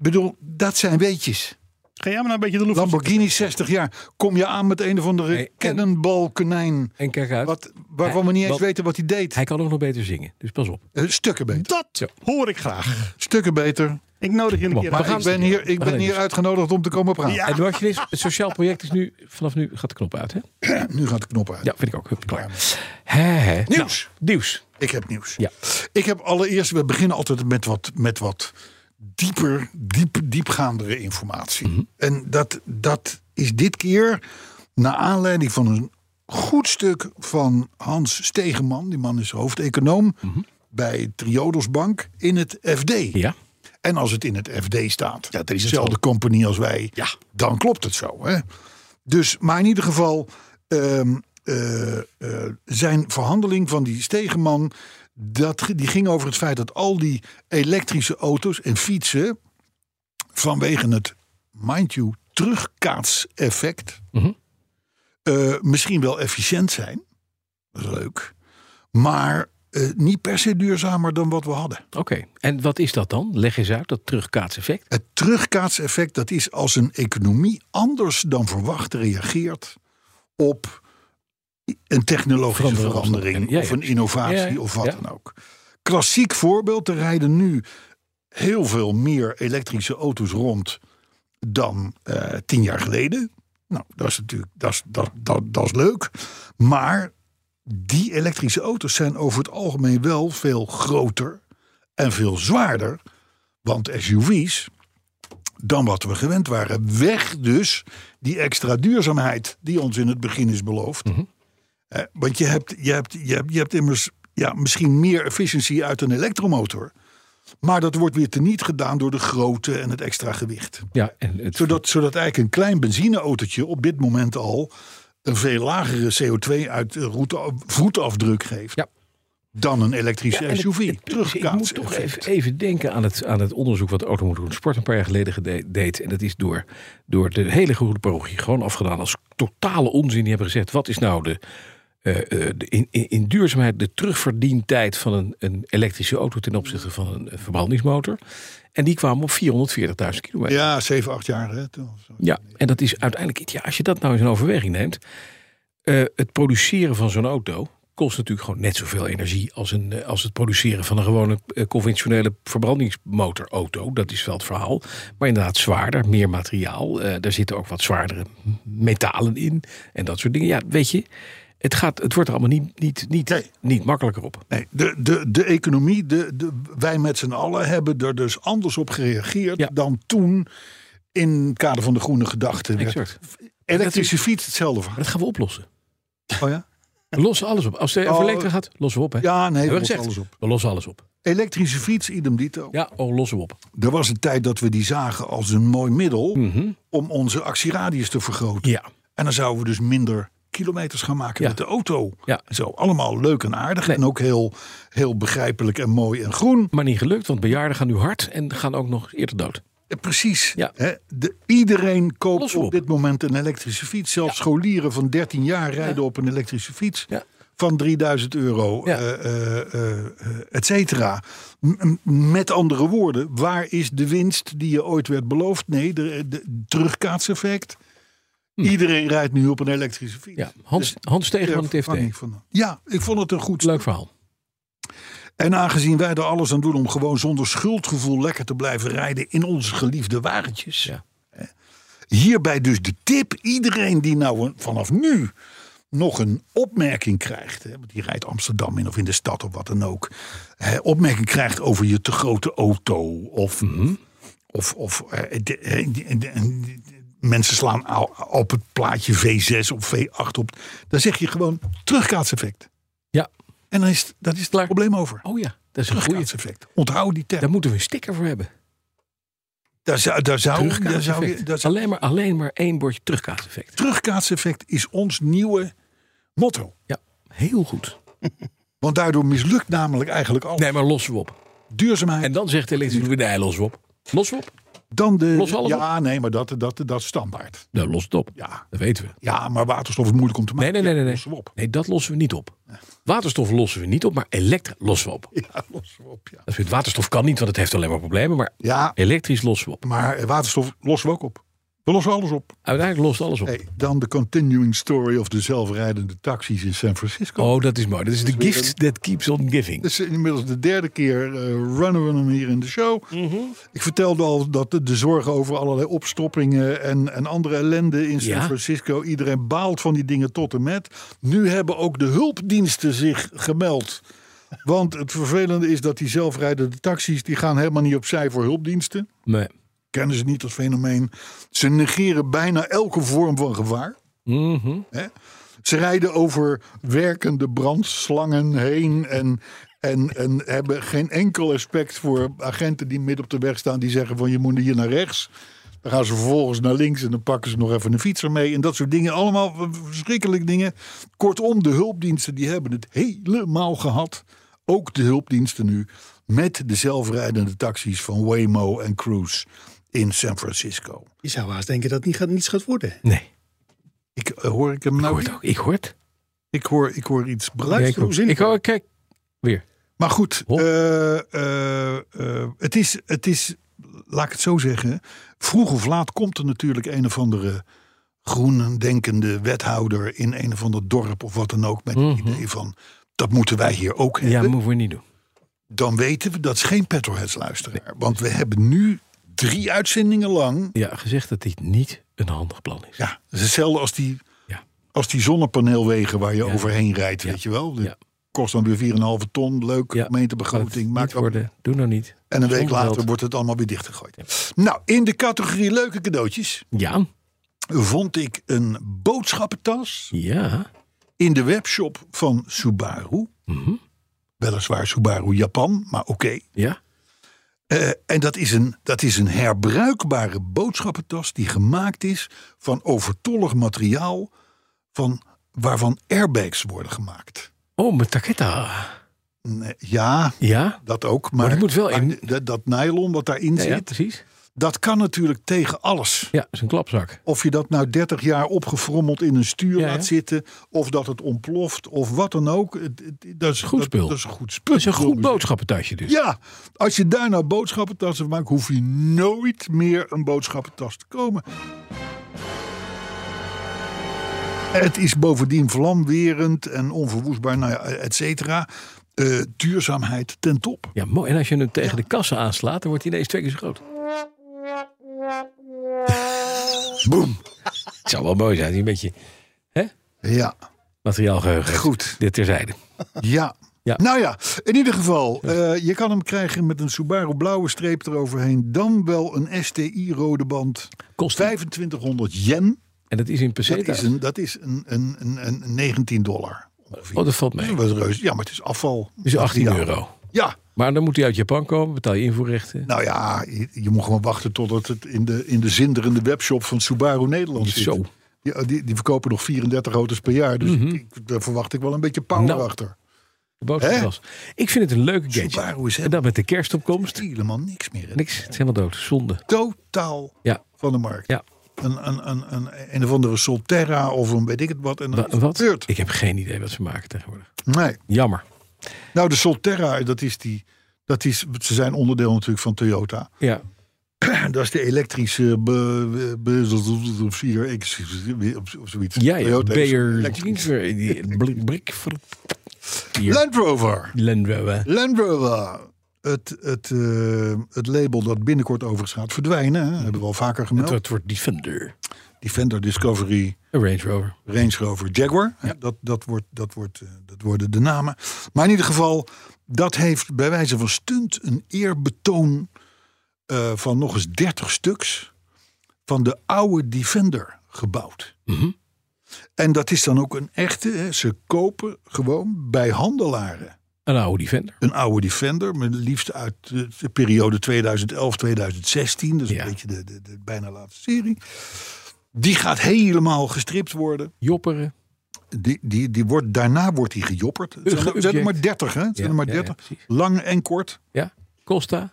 S2: bedoel, dat zijn weetjes.
S4: Ga jij maar nou een beetje de loef
S2: Lamborghini 60 jaar. Kom je aan met een of andere
S3: Hey, en-
S2: cannonball konijn.
S3: En kijk uit.
S2: Wat, waarvan we niet eens
S3: Wat-
S2: weten wat hij deed.
S3: Hij kan ook nog beter zingen. Dus pas op.
S2: Eh, stukken beter.
S4: Dat hoor ik graag.
S2: Stukken beter.
S4: Ik nodig je een
S3: Kom op,
S4: keer
S3: we
S4: uit.
S3: gaan-
S2: Ik ben hier, ik
S3: We
S2: ben
S3: gaan
S2: hier
S3: even-
S2: uitgenodigd om te komen praten.
S4: Ja.
S3: En de machinist, het sociaal project is nu... Vanaf nu gaat de knop uit, hè?
S2: Nu gaat de knop uit.
S3: Ja, vind ik ook. Hup, klaar. Hè, hè.
S2: Nieuws.
S3: Nou, nieuws.
S2: Ik heb nieuws.
S3: Ja.
S2: Ik heb allereerst, we beginnen altijd met wat, met wat dieper, diep, diepgaandere informatie. En dat, dat is dit keer naar aanleiding van een goed stuk van Hans Stegeman. Die man is hoofdeconoom bij Triodos Bank in het FD.
S3: Ja.
S2: En als het in het FD staat, ja, is dezelfde compagnie als wij, dan klopt het zo. Hè? Dus, maar in ieder geval, ehm, eh, eh, zijn verhandeling van die Stegeman, dat, ge- die ging over het feit dat al die elektrische auto's en fietsen vanwege het, mind you, terugkaatseffect eh, misschien wel efficiënt zijn. Dat is leuk. Maar eh, niet per se duurzamer dan wat we hadden.
S3: Oké, en wat is dat dan? Leg eens uit, dat terugkaatseffect.
S2: Het terugkaatseffect, dat is als een economie anders dan verwacht reageert op een technologische
S3: Verandering.
S2: verandering
S3: Ja, ja.
S2: of een innovatie
S3: Ja, ja.
S2: of wat
S3: Ja.
S2: dan ook. Klassiek voorbeeld, er rijden nu heel veel meer elektrische auto's rond dan eh, tien jaar geleden. Nou, dat is natuurlijk dat is, dat, dat, dat is leuk. Maar die elektrische auto's zijn over het algemeen wel veel groter en veel zwaarder. Want SUV's, dan wat we gewend waren. Weg dus die extra duurzaamheid die ons in het begin is beloofd. Eh, want je hebt, je, hebt, je, hebt, je hebt immers ja, misschien meer efficiëntie uit een elektromotor. Maar dat wordt weer teniet gedaan door de grootte en het extra gewicht.
S3: Ja, en het,
S2: Zodat, zodat eigenlijk een klein benzineautootje op dit moment al een veel lagere CO2 uit eh, route, voetafdruk geeft.
S3: Ja.
S2: Dan een elektrische
S3: Ja, en het-
S2: SUV.
S3: het- Ik moet toch
S2: Terugkaatseffect.
S3: even, even denken aan het, aan het onderzoek wat Automotor en Sport een paar jaar geleden gede- deed. En dat is door, door de hele groene parochie gewoon afgedaan als totale onzin. Die hebben gezegd, wat is nou de, eh, eh, de- in, in, in duurzaamheid de terugverdientijd van een, een elektrische auto ten opzichte van een eh, verbrandingsmotor. En die kwamen op 440.000 kilometer.
S2: Ja, 7, 8 jaar. Hè? Toen-
S3: Ja, en dat is uiteindelijk, iets- ja, als je dat nou eens in overweging neemt, eh, het produceren van zo'n auto kost natuurlijk gewoon net zoveel energie als, een, eh, als het produceren van een gewone eh, conventionele verbrandingsmotorauto. Dat is wel het verhaal. Maar inderdaad zwaarder, meer materiaal. Eh, daar zitten ook wat zwaardere m- metalen in en dat soort dingen. Ja, weet je, het, gaat, het wordt er allemaal niet, niet, niet,
S2: Nee.
S3: niet makkelijker op.
S2: Nee, de, de, de economie, de, de, wij met z'n allen hebben er dus anders op gereageerd
S3: Ja.
S2: dan toen in het kader van de groene gedachte. werd.
S3: Exact.
S2: Elektrische fiets, hetzelfde verhaal.
S3: Maar dat gaan we oplossen.
S2: Oh ja?
S3: We lossen alles op. Als de
S2: Oh.
S3: over elektra gaat, lossen we op. Hè?
S2: Ja, nee,
S3: Hebben
S2: we
S3: we,
S2: lossen
S3: gezegd.
S2: alles op.
S3: we lossen alles op.
S2: Elektrische fiets, idem dito.
S3: Ja, oh, lossen we op.
S2: Er was een tijd dat we die zagen als een mooi middel om onze actieradius te vergroten.
S3: Mhm. Ja.
S2: En dan zouden we dus minder kilometers gaan maken
S3: Ja.
S2: met de auto.
S3: Ja.
S2: En Zo, allemaal leuk en aardig.
S3: Nee.
S2: En ook heel, heel begrijpelijk en mooi en groen.
S3: Maar niet gelukt, want bejaarden gaan nu hard en gaan ook nog eerder dood.
S2: Eh, Precies.
S3: Ja.
S2: Hè, de, iedereen koopt
S3: Lossen we
S2: op
S3: op.
S2: dit moment een elektrische fiets. Zelfs scholieren van 13 jaar rijden op een elektrische fiets.
S3: Ja.
S2: Van 3000 euro,
S3: Ja.
S2: eh, eh, eh, eh, et cetera. M- m- Met andere woorden, waar is de winst die je ooit werd beloofd? Nee, de, de terugkaatseffect. Iedereen rijdt nu op een elektrische fiets.
S3: Hm. Ja, Hans,
S2: Dus-
S3: Hans Tegen van
S2: Daar
S3: het
S2: vang ik
S3: FD.
S2: van. Ja, ik vond het een goed
S3: Leuk verhaal.
S2: en aangezien wij er alles aan doen om gewoon zonder schuldgevoel lekker te blijven rijden in onze geliefde wagentjes.
S3: Ja.
S2: hè, Hierbij dus de tip: iedereen die nou een- vanaf nu nog een opmerking krijgt, hè, want die rijdt Amsterdam in of in de stad of wat dan ook, hè, opmerking krijgt over je te grote auto of
S3: Mhm.
S2: of, of eh, de- eh, de- de- de- mensen slaan au- op het plaatje V6 of V8 op, dan zeg je gewoon terugkaatseffect.
S3: Ja.
S2: En dan is het- dat is het
S3: Klaar.
S2: probleem over.
S3: Oh ja, dat is een goeie.
S2: Terugkaatseffect. Onthoud die term.
S3: Daar moeten we een sticker voor hebben.
S2: Daar zou, daar zou, daar zou, je- daar
S3: Terugkaatseffect.
S2: zou,
S3: Alleen maar, alleen maar één bordje terugkaatseffect.
S2: terugkaatseffect is ons nieuwe motto.
S3: Ja, heel goed.
S2: Want daardoor mislukt namelijk eigenlijk al
S3: Nee, maar lossen we op.
S2: duurzaamheid.
S3: En dan zegt de elektrische nee, lossen we op. Lossen we op?
S2: dan de,
S3: los alles
S2: ja, nee, maar dat, dat, dat is standaard.
S3: Nou, los het op.
S2: Ja.
S3: Dat weten we.
S2: ja, maar waterstof is moeilijk om te
S3: Nee,
S2: maken.
S3: nee, nee, nee.
S2: Ja, Lossen
S3: Nee,
S2: we op.
S3: nee dat lossen we niet op. Waterstof lossen we niet op, maar elektra lossen we op.
S2: Ja, lossen we op, ja.
S3: Dat is het. Waterstof kan niet, want het heeft alleen maar problemen. Maar
S2: Ja,
S3: elektrisch lossen we op.
S2: Maar waterstof lossen we ook op. We lossen alles op.
S3: Uiteindelijk lost alles op.
S2: Hey, dan de continuing story of de zelfrijdende taxis in San Francisco.
S3: Oh, dat is mooi. Dat is Dus- de gift that keeps on giving.
S2: Dit is inmiddels de derde keer eh, runnen we hem hier in de show. Ik vertelde al dat de, de zorgen over allerlei opstoppingen en, en andere ellende in San
S3: Ja.
S2: Francisco. Iedereen baalt van die dingen tot en met. Nu hebben ook de hulpdiensten zich gemeld. Want het vervelende is dat die zelfrijdende taxis... die gaan helemaal niet opzij voor hulpdiensten.
S3: Nee.
S2: kennen ze niet als fenomeen. Ze negeren bijna elke vorm van gevaar. Hè? Ze rijden over werkende brandslangen heen en, en, en hebben geen enkel respect voor agenten die midden op de weg staan. Die zeggen van je moet hier naar rechts. Dan gaan ze vervolgens naar links en dan pakken ze nog even een fietser mee. En dat soort dingen. Allemaal verschrikkelijke dingen. Kortom, de hulpdiensten die hebben het helemaal gehad. Ook de hulpdiensten nu. Met de zelfrijdende taxis van Waymo en Cruise. in San Francisco.
S4: Je zou haast denken dat het niet gaat, niets gaat worden.
S3: Nee.
S2: Ik, eh, hoor ik hem
S3: Ik
S2: nou?
S3: hoor het ook. Ik hoor het.
S2: Ik hoor, ik hoor iets bruins.
S3: Ja, ik hoor, ik hoor- kijk. Weer.
S2: Maar goed,
S3: Hop.
S2: eh, eh, eh, het, is, het is, laat ik het zo zeggen. Vroeg of laat komt er natuurlijk een of andere groendenkende wethouder in een of ander dorp of wat dan ook. Met het idee van dat moeten wij hier ook
S3: Mhm. Ja,
S2: hebben.
S3: moeten we niet doen.
S2: Dan weten we dat is geen Petroheads luisteraar. Want we hebben nu drie uitzendingen lang.
S3: Ja, gezegd dat dit niet een handig plan is.
S2: Ja, het is hetzelfde als die,
S3: Ja.
S2: als die zonnepaneelwegen waar je
S3: Ja.
S2: overheen rijdt,
S3: Ja.
S2: weet je wel. Dat
S3: Ja.
S2: kost dan weer 4,5 ton. Leuk,
S3: Ja. Laat
S2: gemeentebegroting.
S3: het
S2: Maakt
S3: niet
S2: ook
S3: worden. Doe nou niet.
S2: En een week
S3: Zonder
S2: later
S3: geld.
S2: wordt het allemaal weer dichtgegooid. Nou, in de categorie leuke cadeautjes
S3: Ja.
S2: vond ik een boodschappentas
S3: Ja.
S2: in de webshop van Subaru.
S3: Mhm.
S2: Weliswaar Subaru Japan, maar oké.
S3: Ja.
S2: Eh, en dat is, een, dat is een herbruikbare boodschappentas die gemaakt is van overtollig materiaal van, waarvan airbags worden gemaakt.
S3: Oh, mijn taqueta.
S2: Nee, ja,
S3: Ja.
S2: dat ook. Maar,
S3: Maar het moet wel in-
S2: maar dat- dat nylon wat daarin
S3: Ja, ja,
S2: zit,
S3: precies.
S2: dat kan natuurlijk tegen alles.
S3: Ja, dat is een klapzak.
S2: Of je dat nou 30 jaar opgefrommeld in een stuur
S3: Ja, ja.
S2: laat zitten. Of dat het ontploft. Of wat dan ook. Het- het- Dat is,
S3: Goed
S2: dat-
S3: spul.
S2: Dat, is een goed spul.
S3: Dat is een goed
S2: jongens.
S3: boodschappentasje dus.
S2: Ja, als je daar nou boodschappentas van maakt, hoef je nooit meer een boodschappentas te komen. Het is bovendien vlamwerend en onverwoestbaar, nou ja, et cetera. Eh, duurzaamheid ten top.
S3: Ja, mooi. En als je hem tegen de kassa aanslaat, dan wordt hij ineens twee keer zo groot. Boom. Het zou wel mooi zijn, een beetje
S2: Ja,
S3: materiaalgeheugen. heeft.
S2: goed.
S3: Dit terzijde.
S2: Ja.
S3: Ja.
S2: Nou ja, in ieder geval, eh, je kan hem krijgen met een Subaru blauwe streep eroverheen. Dan wel een STI-rode band.
S3: Kost die?
S2: 2500 yen.
S3: En dat is in
S2: Dat
S3: peseta.
S2: is een, dat is een, een, een, een 19 dollar. Ongeveer.
S3: Oh, dat valt mee.
S2: Dat is wel reuze. Ja, maar het is afval.
S3: Dus 18
S2: Ja.
S3: euro.
S2: Ja,
S3: Maar dan moet hij uit Japan komen, betaal je invoerrechten.
S2: nou ja, je, je moet gewoon wachten totdat het in de, in de zinderende webshop van Subaru Nederland zit.
S3: Zo. Mhm.
S2: Die, die, die verkopen nog 34 auto's per jaar. Dus ik, daar verwacht ik wel een beetje power
S3: Nou.
S2: achter.
S3: De boodschappentas. Ik vind het een leuke gadget.
S2: Subaru is
S3: En dan met de kerstopkomst.
S2: helemaal niks meer. hè.
S3: Niks, het is helemaal dood. Zonde.
S2: Totaal
S3: Ja.
S2: van de markt.
S3: Ja.
S2: Een, een, een, een, een of andere Solterra of een weet ik het wat. En dan
S3: Wa-
S2: is het
S3: wat?
S2: gebeurd.
S3: Ik heb geen idee wat ze maken tegenwoordig.
S2: Nee.
S3: Jammer.
S2: Nou, de Solterra, dat is die. Dat is, ze zijn onderdeel natuurlijk van Toyota.
S3: Ja.
S2: Dat is de elektrische. Be, be, of hier, ik- of- of zoiets.
S3: Ja, ja.
S2: Toyota heeft
S3: Bayer. eh,
S2: een elektrische-
S3: die blik- Blik. Hier.
S2: Land Rover.
S3: Land Rover.
S2: Land Rover. Het, het, eh, het label dat binnenkort overigens gaat verdwijnen. hè, Hebben we al vaker
S3: Het
S2: gemeld.
S3: wordt- wordt Defender.
S2: Defender Discovery.
S3: Een Range Rover.
S2: Range Rover Jaguar. hè, Dat, dat, wordt, dat, wordt, eh, dat worden de namen. Maar in ieder geval, dat heeft bij wijze van stunt een eerbetoon eh, van nog eens 30 stuks van de oude Defender gebouwd. En dat is dan ook een echte. hè, Ze kopen gewoon bij handelaren
S3: Een oude Defender.
S2: een oude Defender, maar liefst uit de, de periode 2011-2016. Dus
S3: Ja.
S2: een beetje de, de, de bijna laatste serie. Die gaat helemaal gestript worden.
S3: Jopperen.
S2: Die, die, die wordt, daarna wordt hij gejopperd. Het zijn, er- het zijn er maar 30, hè? Het zijn er maar
S3: Ja, ja,
S2: 30.
S3: ja, precies.
S2: Lang en kort.
S3: Ja. Costa.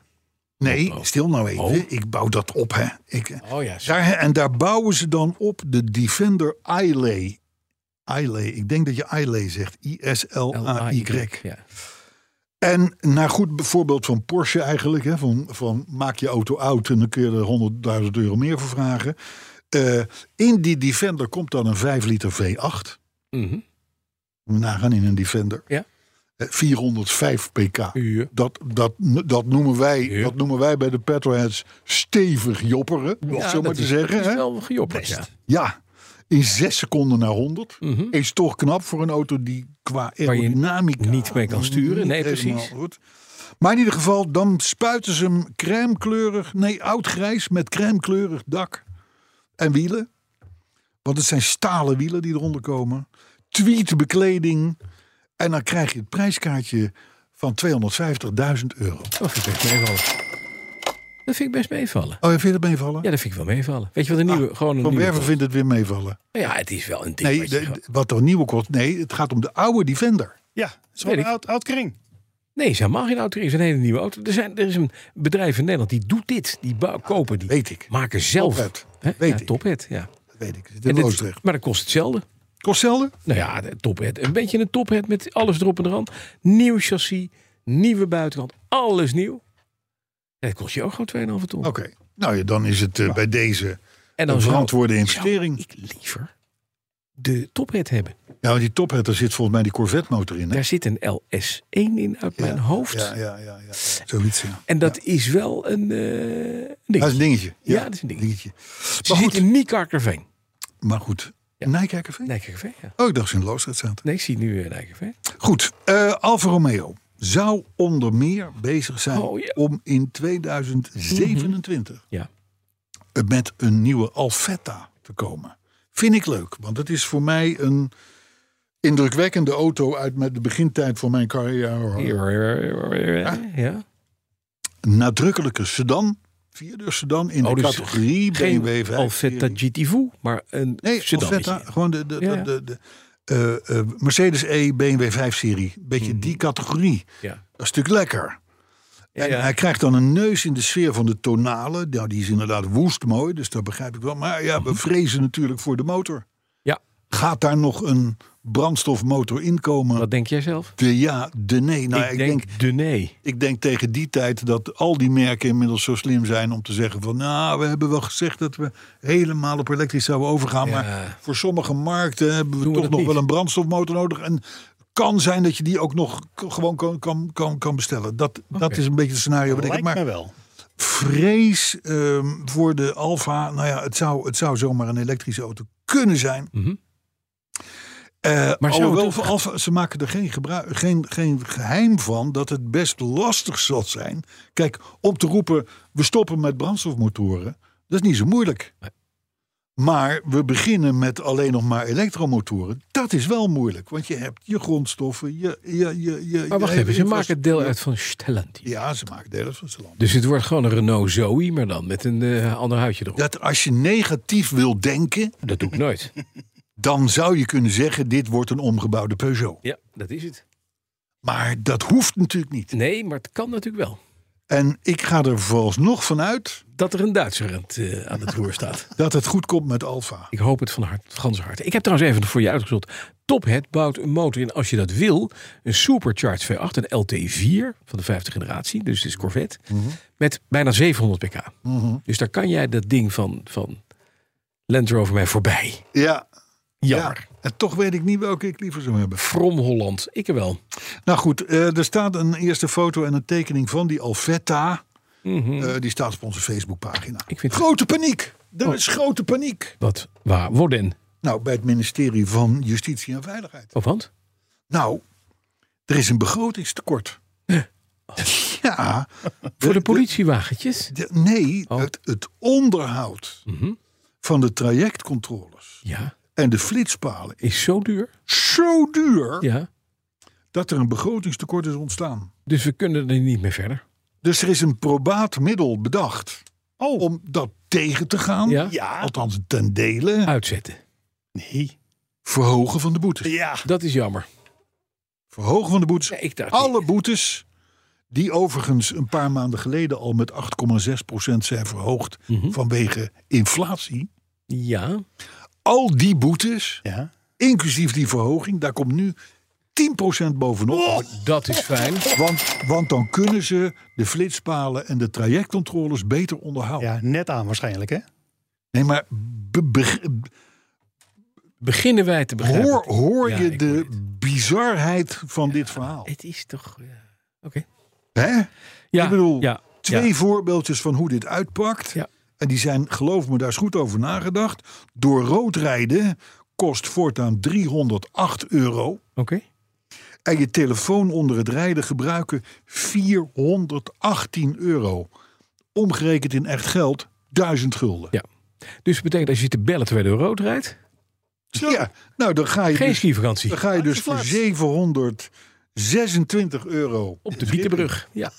S2: Nee, stil nou even.
S3: Oh.
S2: Ik bouw dat op, hè? Ik,
S3: Oh ja. zo.
S2: daar, en daar bouwen ze dan op de Defender Islay. Islay, ik denk dat je Islay zegt. I-S-L-A-Y.
S3: Ja.
S2: En naar goed bijvoorbeeld van Porsche eigenlijk. Hè, van, van maak je auto oud en dan kun je er 100.000 euro meer voor vragen. Eh, in die Defender komt dan een 5 liter V8.
S3: Mhm.
S2: Nagaan in een Defender.
S3: Ja.
S2: Eh, 405 pk.
S3: Ja.
S2: Dat, dat, dat, noemen wij,
S3: Ja.
S2: dat noemen wij bij de petrolheads stevig jopperen. Om het
S3: Ja,
S2: zo maar
S3: dat
S2: te
S3: is-
S2: zeggen.
S3: dat is
S2: hè.
S3: wel gejopperd. Ja.
S2: Ja, in zes seconden naar 100. Is toch knap voor een auto die qua
S3: Mhm. je
S2: aerodynamica...
S3: niet mee kan sturen.
S2: niet
S3: Nee,
S2: helemaal
S3: precies.
S2: Goed. Maar in ieder geval, dan spuiten ze hem crèmekleurig... Nee, oudgrijs met crèmekleurig dak en wielen. Want het zijn stalen wielen die eronder komen. Tweet bekleding. En dan krijg je het prijskaartje van 250.000 euro. Oh,
S3: Dat vind ik best meevallen. Dat vind ik best meevallen.
S2: Oh, vind je dat meevallen?
S3: Ja, dat vind ik wel meevallen. Weet je wat een nieuwe... gewoon een
S2: Ah, van
S3: nieuwe
S2: Werven vindt het weer meevallen.
S3: Ja, het is wel een ding.
S2: Nee,
S3: wat je
S2: de-
S3: gewoon-
S2: de- wat er nieuwe kost. Nee, het gaat om de oude Defender.
S4: Ja, het
S3: Weet
S4: is wel een
S3: ik.
S4: oud, oud kring.
S3: Nee, ze mag geen auto. Er is een hele nieuwe auto. Er, zijn, er is een bedrijf in Nederland die doet dit. Die bou- kopen die.
S2: weet ik.
S3: Maken zelf.
S2: Tophead.
S3: Hè?
S2: Weet
S3: ja,
S2: ik.
S3: Tophead, ja.
S2: Dat weet ik. Dit
S3: En
S2: is
S3: dit-
S2: Oostrecht.
S3: maar dat kost hetzelfde.
S2: Kost zelden?
S3: Nou ja, de tophead. Een beetje een tophead met alles erop en eraan. Nieuw chassis, nieuwe buitenkant, alles nieuw. En dat kost je ook gewoon 2,5 ton.
S2: Oké. Nou ja, dan is het eh, bij deze
S3: en
S2: een
S3: zou-
S2: verantwoorde investering.
S3: zou ik liever de tophead hebben.
S2: Ja, want die tophead, daar zit volgens mij die Corvette motor in. Hè?
S3: Daar zit een LS1 in uit mijn hoofd.
S2: Ja, ja, ja, ja. Zoiets, ja.
S3: En dat is wel een eh, een ding.
S2: Dat is een dingetje.
S3: Ja, dat is een dingetje. Ze
S2: Maar
S3: zit
S2: goed,
S3: in Niekerkerveen.
S2: maar goed. Nijkerkerveen?
S3: Nijkerkerveen, ja.
S2: Oh, ik dacht ze in Loosdrecht zaten.
S3: Nee, ik zie nu eh, Nijkerkerveen.
S2: Goed, eh, Alfa Romeo zou onder meer bezig zijn
S3: Oh, ja.
S2: om in 2027
S3: Ja.
S2: met een nieuwe Alfetta te komen. Vind ik leuk, want het is voor mij een indrukwekkende auto uit met de begintijd van mijn carrière.
S3: Ja.
S2: Een nadrukkelijke sedan, vierdeurs sedan in
S3: Oh,
S2: de
S3: dus
S2: categorie
S3: Geen
S2: BMW 5.
S3: Alfetta GTV, maar een
S2: Nee,
S3: sedan.
S2: Alfetta, gewoon de, de,
S3: Ja, ja.
S2: de, de, eh, eh, Mercedes E BMW 5 serie. Beetje
S3: Mhm.
S2: die categorie.
S3: Ja.
S2: Dat is natuurlijk lekker. En
S3: ja.
S2: hij krijgt dan een neus in de sfeer van de tonale. Nou, die is inderdaad woest mooi, dus dat begrijp ik wel. Maar ja,
S3: Mhm.
S2: we vrezen natuurlijk voor de motor.
S3: Ja,
S2: Gaat daar nog een brandstofmotor in komen?
S3: wat denk jij zelf?
S2: De ja, de nee. Nou, ik, denk,
S3: de nee.
S2: ik denk tegen die tijd dat al die merken inmiddels zo slim zijn om te zeggen van... nou, we hebben wel gezegd dat we helemaal op elektrisch zouden overgaan... maar voor sommige markten hebben we
S3: Doen we
S2: toch
S3: dat
S2: nog
S3: niet.
S2: wel een brandstofmotor nodig... En, kan zijn dat je die ook nog k- gewoon kan, kan, kan, kan bestellen. Dat, dat is een beetje het scenario. Wat ik heb.
S4: Lijkt
S2: Maar
S4: me wel.
S2: vrees ehm, voor de Alfa. Nou ja, het zou, het zou zomaar een elektrische auto kunnen zijn. Eh,
S3: Mhm. Maar zou
S2: alhoewel
S3: het ook-
S2: voor Alfa, ze maken er geen, gebruik, geen, geen geheim van dat het best lastig zal zijn. Kijk, om te roepen, we stoppen met brandstofmotoren, dat is niet zo moeilijk. Maar we beginnen met alleen nog maar elektromotoren. Dat is wel moeilijk, want je hebt je grondstoffen, je... je, je, je
S3: Maar
S2: je
S3: wacht even, ze
S2: infrastructuur.
S3: maken deel uit van Stellantis.
S2: Ja, ze maken deel uit van het land.
S3: Dus het wordt gewoon een Renault Zoe, maar dan met een eh, ander huidje erop.
S2: dat als je negatief wil denken,
S3: Dat doe ik nooit.
S2: dan zou je kunnen zeggen: dit wordt een omgebouwde Peugeot.
S3: Ja, dat is het.
S2: Maar dat hoeft natuurlijk niet.
S3: Nee, maar het kan natuurlijk wel.
S2: En ik ga er vooralsnog van uit
S3: Dat er een Duitser aan het, eh, aan het roer staat.
S2: dat het goed komt met Alfa.
S3: Ik hoop het van hart, ganse harte. Ik heb trouwens even voor je uitgezocht. Tophead bouwt een motor in, als je dat wil, een supercharged V8, een LT4 van de vijfde generatie, dus het is Corvette, met bijna 700 pk. Dus daar kan jij dat ding van, van Land Rover mij voorbij.
S2: Ja,
S3: Jammer.
S2: ja. En toch weet ik niet welke ik liever zou hebben.
S3: From Holland, ik wel.
S2: Nou goed, eh, er staat een eerste foto en een tekening van die Alfetta. Eh, die staat op onze Facebookpagina.
S3: Mhm. Ik vind- Oh.
S2: Grote paniek! Er is grote paniek.
S3: Wat, waar, worden?
S2: Nou, bij het ministerie van Justitie en Veiligheid.
S3: Of want?
S2: Nou, er is een begrotingstekort. Ja,
S3: Voor de Oh. politiewagentjes?
S2: de- nee, het, het onderhoud
S3: Mhm.
S2: van de trajectcontroles
S3: Ja,
S2: en de flitspalen
S3: is zo duur.
S2: is zo duur
S3: Ja,
S2: dat er een begrotingstekort is ontstaan.
S3: dus we kunnen er niet meer verder.
S2: Dus er is een probaat middel bedacht om dat tegen te gaan.
S3: Oh. Ja. Ah.
S2: Althans, ten dele
S3: Uitzetten.
S4: Nee.
S2: verhogen van de boetes.
S4: Ja.
S3: Dat is jammer.
S2: Verhogen van de boetes.
S3: Ja, ik dacht
S2: Alle boetes, die overigens een paar maanden geleden al met 8,6% zijn verhoogd
S3: Mhm.
S2: vanwege inflatie.
S3: Ja,
S2: Al die boetes,
S4: ja.
S2: inclusief die verhoging, daar komt nu 10% bovenop.
S3: Oh. dat is fijn.
S2: Want, want dan kunnen ze de flitspalen en de trajectcontroles beter onderhouden.
S4: Ja, net aan waarschijnlijk, hè?
S2: Nee, maar be- be-
S3: Beginnen wij te begrijpen.
S2: hoor, hoor
S3: Ja,
S2: je
S3: ik hoor
S2: de
S3: het.
S2: bizarheid van dit verhaal?
S3: Het is toch... eh, Ja,
S2: Hè?
S3: ja
S2: ik bedoel,
S3: ja,
S2: twee
S3: ja.
S2: voorbeeldjes van hoe dit uitpakt.
S3: Ja.
S2: En die zijn, geloof me, daar is goed over nagedacht. Door rood rijden kost voortaan 308 euro.
S3: Oké.
S2: En je telefoon onder het rijden gebruiken 418 euro. Omgerekend in echt geld, 1000 gulden.
S3: Ja. Dus dat betekent als je te bellen terwijl je door rood rijdt...
S2: Ja, nou dan ga je
S3: Geen
S2: dus,
S3: skivakantie.
S2: dan ga je dus voor 726 euro.
S3: Op de Bietenbrug. Ja.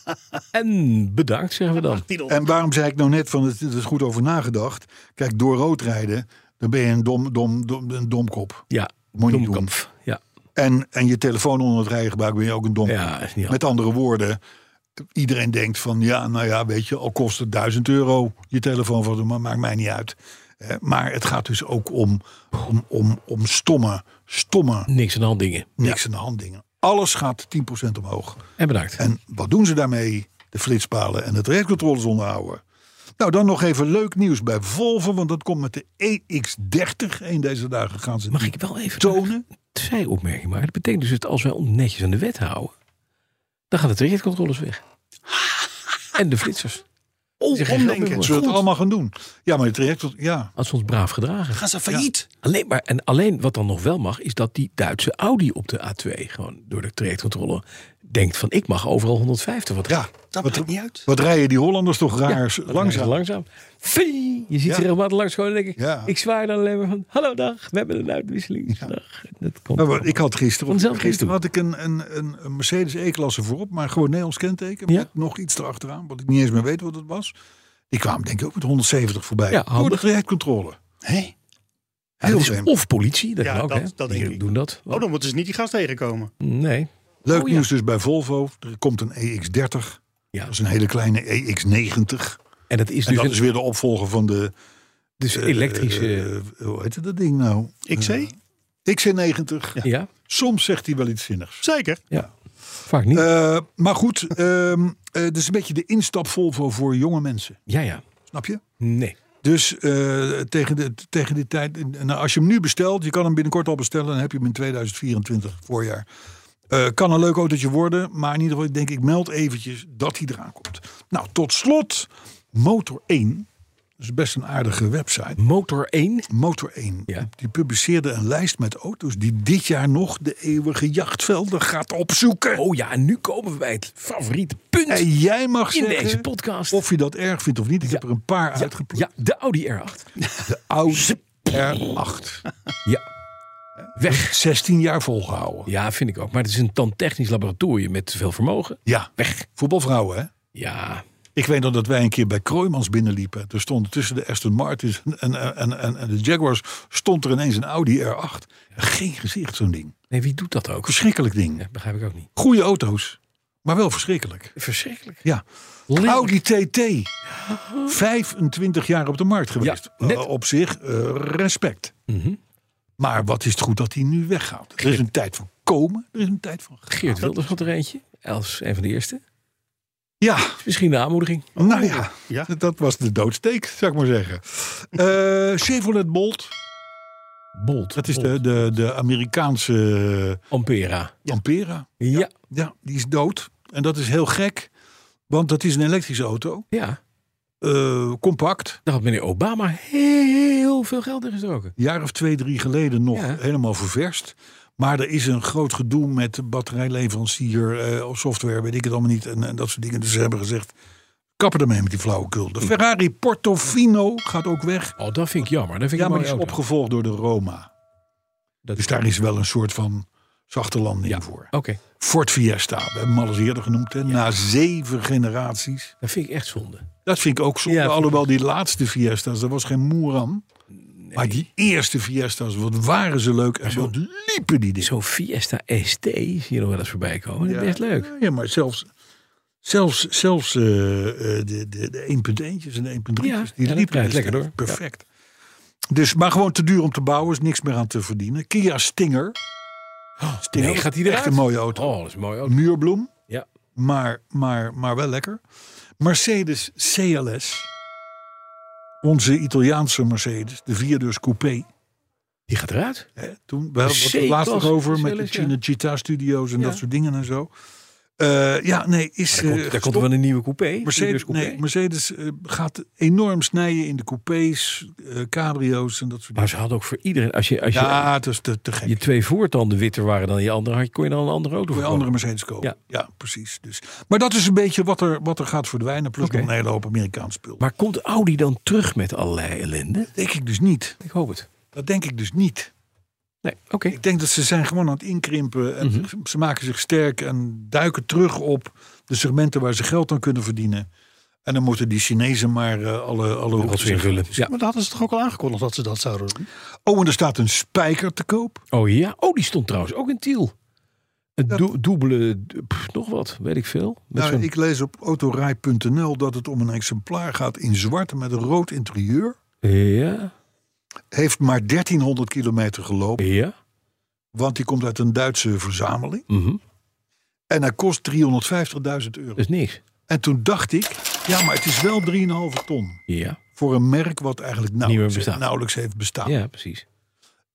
S3: En bedankt, zeggen we dan.
S2: En waarom zei ik nou net van het, het is goed over nagedacht? Kijk, door rood rijden, dan ben je een dom, dom, dom, een domkop.
S3: Ja,
S2: Moet je niet
S3: domkamp. Ja.
S2: En, en je telefoon onder het rijden gebruikt, ben je ook een dom.
S3: Ja, is niet handig.
S2: Met andere woorden, iedereen denkt van ja, nou ja, weet je, al kost het 1000 euro je telefoon van maar maakt mij niet uit. Eh, maar het gaat dus ook om, om, om, om stomme, stomme,
S3: Niks aan de hand dingen.
S2: niks aan de hand dingen. Alles gaat 10% omhoog.
S3: En bedankt.
S2: En wat doen ze daarmee? De flitspalen en het rijcontroles onderhouden. Nou, dan nog even leuk nieuws bij Volvo, want dat komt met de E EX30. Een deze dagen gaan ze
S3: Mag ik wel even
S2: tonen.
S3: een zijopmerking maken? Dat betekent dus dat als wij ons netjes aan de wet houden, dan gaan de trajectcontroles weg. en de flitsers.
S2: Oh,
S3: Zeg, omdenken.
S2: omdenken. Zullen we het
S3: Goed.
S2: allemaal gaan doen? Ja, maar het traject, ja.
S3: Als we ons braaf gedragen.
S1: Gaan ze failliet?
S3: Alleen, maar, en alleen wat dan nog wel mag, is dat die Duitse Audi op de A2 gewoon door de trajectcontrole denkt van ik mag overal 150. Wat
S2: ja.
S1: Dat
S2: wat,
S1: maakt niet uit.
S2: wat rijden die Hollanders toch
S3: Ja,
S2: raar
S3: dat
S2: langzaam.
S3: is langzaam. Fee! Je ziet
S2: Ja.
S3: ze regelmatig langs gewoon en denk ik,
S2: Ja.
S3: ik zwaai dan alleen maar van hallo dag, we hebben een uitwisseling. Dag. Dat komt
S2: Nou, maar ik had gisteren, of
S3: Vanzelf
S2: gisteren
S3: niet
S2: had ik een, een, een een Mercedes E-klasse voorop, maar gewoon Nederlands kenteken.
S3: Ja.
S2: Met nog iets erachteraan, wat ik niet eens meer weet wat het was. Die kwamen denk ik ook met 170 voorbij.
S3: Ja,
S2: Door de
S3: handig.
S2: trajectcontrole.
S4: Hé?
S3: Ja, dat
S2: Heel
S3: is
S2: vreemd.
S3: of politie, dat
S4: Ja,
S3: kan ook.
S4: dat-
S3: hè?
S4: dat
S3: Die
S4: denk ik.
S3: doen dat.
S4: Oh, dan moeten ze niet die gast tegenkomen.
S3: Nee.
S2: Leuk
S3: Oh, ja.
S2: nieuws dus bij Volvo. Er komt een EX30.
S3: Ja.
S2: Dat is een hele kleine EX90.
S3: En dat is
S2: En
S3: dus,
S2: dat
S3: een,
S2: is weer de opvolger van de...
S3: dus
S2: eh,
S3: elektrische.
S2: eh, hoe heette dat ding nou?
S4: XC?
S2: Eh, XC90.
S3: ja,
S2: Soms zegt hij wel iets zinnigs.
S4: Zeker.
S3: vaak niet.
S2: Eh, maar goed, ehm eh dit is een beetje de instap Volvo voor jonge mensen.
S3: ja, ja.
S2: Snap je?
S3: Nee.
S2: Dus eh, tegen, de, tegen die tijd, nou, als je hem nu bestelt, je kan hem binnenkort al bestellen, dan heb je hem in 2024 voorjaar. Eh, kan een leuk autootje worden, maar in ieder geval denk ik, meld eventjes dat hij eraan komt. Nou, tot slot, Motor 1. Dat is best een aardige website.
S3: Motor 1.
S2: Motor 1.
S3: Ja.
S2: Die, die publiceerde een lijst met auto's die dit jaar nog de eeuwige jachtvelden gaat opzoeken.
S3: Oh ja, en nu komen we bij het favoriete punt
S2: En jij mag
S3: in
S2: zeggen
S3: deze podcast.
S2: of je dat erg vindt of niet. Ik heb er een paar
S3: ja,
S2: uitgeplukt.
S3: ja, de Audi R8.
S2: De oude R8.
S3: Ja. Weg.
S2: 16 jaar volgehouden.
S3: Ja, vind ik ook. Maar het is een tandtechnisch laboratorium met veel vermogen.
S2: Ja,
S3: Weg.
S2: voetbalvrouwen hè.
S3: Ja.
S2: Ik weet nog dat wij een keer bij Kroijmans binnenliepen. Er stonden tussen de Aston Martins en, en, en, en, en de Jaguars stond er ineens een Audi R8. Geen gezicht zo'n ding.
S3: Nee, wie doet dat ook?
S2: Verschrikkelijk ding.
S3: Ja, begrijp ik ook niet.
S2: Goede auto's, maar wel verschrikkelijk.
S3: Verschrikkelijk.
S2: Ja.
S3: Lelijk.
S2: Audi TT. 25 jaar op de markt geweest.
S3: Ja, net.
S2: Eh, op zich eh, respect.
S3: Mhm.
S2: Maar wat is het goed dat hij nu weggaat? Er is een tijd van komen, er is een tijd van gaan.
S3: Geert Wilders had er eentje. Als een van de eerste.
S2: Ja,
S3: Misschien de aanmoediging.
S2: nou ja,
S4: Ja.
S2: d- dat was de doodsteek, zou ik maar zeggen. Eh, Chevrolet Bolt,
S3: Bolt.
S2: dat is
S3: Bolt.
S2: de, de, de Amerikaanse
S3: Ampera.
S2: eh, Ampera.
S3: Ja.
S2: Ja, die is dood. En dat is heel gek, want dat is een elektrische auto.
S3: Ja.
S2: Eh, compact,
S3: Daar had meneer Obama heel veel geld in gestoken.
S2: een jaar of twee, drie geleden nog
S3: Ja.
S2: helemaal ververst. Maar er is een groot gedoe met de batterijleverancier, eh, of software, weet ik het allemaal niet. En, en dat soort dingen. Dus ze hebben gezegd, kappen ermee met die flauwekul. De Ferrari Portofino gaat ook weg.
S3: Oh, dat vind ik jammer. Dat vind
S2: Ja,
S3: ik
S2: maar
S3: een
S2: die is
S3: mooie auto.
S2: opgevolgd door de Roma.
S3: Dat-
S2: Dus daar is wel een soort van zachte landing
S3: Ja.
S2: voor.
S3: Oké,
S2: Ford Fiesta, we hebben hem al eens eerder genoemd. Hè? Na zeven generaties.
S3: dat vind ik echt zonde.
S2: Dat vind ik ook zonde.
S3: Ja, vind ik
S2: alhoewel die laatste Fiesta's, daar was geen moer aan. Maar die eerste Fiesta's, wat waren ze leuk. En wat liepen die dingen.
S3: Zo'n Fiesta ST zie je nog wel eens voorbij komen. Dat is best leuk.
S2: Ja, maar zelfs, zelfs, zelfs eh, eh, de, de, de 1.1'tjes en de 1.3'tjes,
S3: Ja, ja, dat
S2: die liepen
S3: rijdt
S2: dus
S3: lekker door.
S2: Perfect. Dus, maar gewoon te duur om te bouwen, is niks meer aan te verdienen. Kia Stinger. Stinger
S3: Oh, nee, gaat die
S2: echt
S3: eruit?
S2: een mooie auto.
S3: Oh, dat is een mooie auto.
S2: Muurbloem,
S3: Ja.
S2: maar, maar, maar wel lekker. Mercedes CLS. Onze Italiaanse Mercedes, de vierdeurs coupé.
S3: Die gaat eruit.
S2: Hè, toen, we hadden het
S3: C-klasse
S2: er laatst nog over met de
S3: CLS, ja.
S2: Cinecittà Studios en
S3: Ja.
S2: dat soort dingen en zo. Eh, ja, nee, is...
S3: Daar
S2: eh,
S3: komt, daar komt
S2: gestopt.
S3: er wel een nieuwe coupé. Die
S2: Mercedes,
S3: dus coupé.
S2: nee, Mercedes eh, gaat enorm snijden in de coupés, eh, cabrio's en dat soort
S3: Maar
S2: dingen.
S3: ze hadden ook voor iedereen... Als je, als je,
S2: Ja, het is te, te gek.
S3: je twee voortanden witter waren dan je andere, had, kon je dan een andere auto
S2: Voor je
S3: verkopen.
S2: andere Mercedes kopen. Ja,
S3: Ja.
S2: precies. Dus. Maar dat is een beetje wat er, wat er gaat verdwijnen. Plus nog een hele hoop Amerikaans spul.
S3: Maar komt Audi dan terug met allerlei ellende?
S2: Dat denk ik dus niet.
S3: Ik hoop het.
S2: Dat denk ik dus niet.
S3: Nee, oké.
S2: Ik denk dat ze zijn gewoon aan het inkrimpen. En
S3: Mhm.
S2: ze- ze maken zich sterk en duiken terug op de segmenten waar ze geld aan kunnen verdienen. En dan moeten die Chinezen maar eh, alle, alle
S3: Wat
S2: hoeken
S3: weer
S2: zeggen.
S3: vullen. Ja.
S4: Maar dat hadden ze toch ook al aangekondigd dat ze dat zouden doen?
S2: Oh, en er staat een spijker te koop.
S3: Oh ja, oh die stond trouwens ook in Tiel. Het doe- dubbele, pff, nog wat, weet ik veel. Met
S2: Nou,
S3: zo'n-
S2: ik lees op autorij.nl dat het om een exemplaar gaat in zwart met een rood interieur.
S3: Ja,
S2: Heeft maar 1300 kilometer gelopen,
S3: ja.
S2: want die komt uit een Duitse verzameling.
S3: mhm.
S2: En hij kost 350.000 euro.
S3: Dat is niks.
S2: En toen dacht ik, ja, maar het is wel 3,5 ton.
S3: Ja,
S2: Voor een merk wat eigenlijk nauwelijks,
S3: bestaat.
S2: nauwelijks heeft bestaan.
S3: ja precies.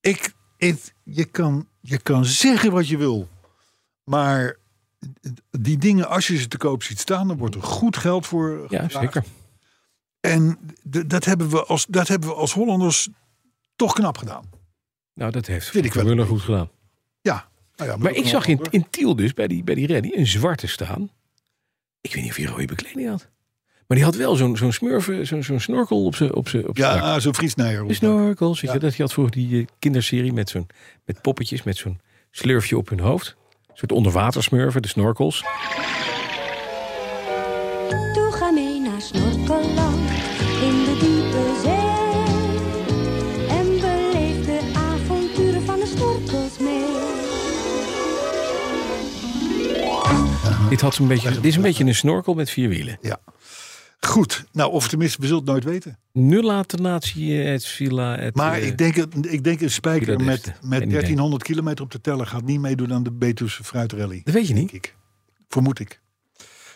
S2: Ik, ik, je, kan, je kan zeggen wat je wil. Maar die dingen, als je ze te koop ziet staan, dan wordt er goed geld voor
S3: Ja,
S2: gevraagd.
S3: zeker.
S2: En d- dat hebben, we als, dat hebben we als Hollanders toch knap gedaan.
S3: Nou, dat heeft
S2: Vind ik wel.
S3: Muller goed gedaan.
S2: Ja. Nou ja
S3: Maar
S2: dat
S3: ik
S2: kan
S3: zag
S2: wel,
S3: in,
S2: hoor.
S3: in Tiel dus bij die, bij die rally een zwarte staan. Ik weet niet of hij rode bekleding had. Maar die had wel zo'n zo'n smurfen, zo'n zo'n snorkel op zijn op zijn op zijn dak.
S2: Ja, zo'n Friesneijer.
S3: De snorkels, weet je,
S2: Ja.
S3: dat je had vroeger die eh, kinderserie met, zo'n, met poppetjes met zo'n slurfje op hun hoofd. Een soort onderwatersmurven, de snorkels.
S7: Toe ga mee naar Snorkeland in de diepe zee. En beleef de avonturen van de snorkels mee.
S3: Dit, had zo'n beetje, dit is een beetje een snorkel met vier wielen.
S2: Ja. Goed. Nou, of tenminste, we zullen het nooit weten.
S3: Nullatonatie, eh, het villa, het...
S2: Maar
S3: eh,
S2: ik, denk, het- ik denk een spijker
S3: Villa
S2: met,
S3: d'Este.
S2: met
S3: Geen idee.
S2: 1300 kilometer op de teller gaat niet meedoen aan de Betuwse fruitrally.
S3: Dat weet je
S2: Denk
S3: niet.
S2: ik. Vermoed ik.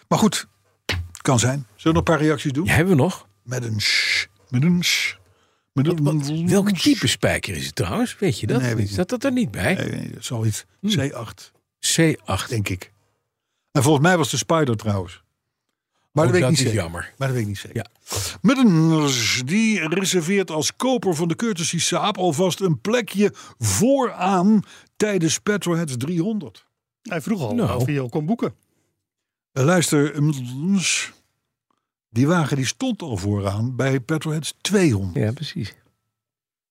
S2: Maar goed, kan zijn. Zullen we nog een paar reacties doen?
S3: Ja, hebben we nog?
S2: Met een sh. Met een sh. Met een
S3: Welk type spijker is het trouwens? Weet je dat?
S2: Nee, weet ik
S3: Zat dat er niet bij?
S2: Nee, nee, dat zal iets.
S3: Hm.
S2: C8,
S3: C8.
S2: denk ik. En volgens mij was de Spider trouwens. Maar
S3: Oh,
S2: dat weet ik
S3: dat
S2: niet
S3: is
S2: zeker.
S3: jammer.
S2: Maar dat weet ik niet zeker.
S3: Ja.
S2: Middens, die reserveert als koper van de Courtesy Saab alvast een plekje vooraan tijdens Petroheads 300.
S4: Hij vroeg al
S3: Nou.
S4: of hij al kon boeken.
S2: Eh, Luister, Middens, die wagen die stond al vooraan bij Petroheads 200.
S3: Ja, precies.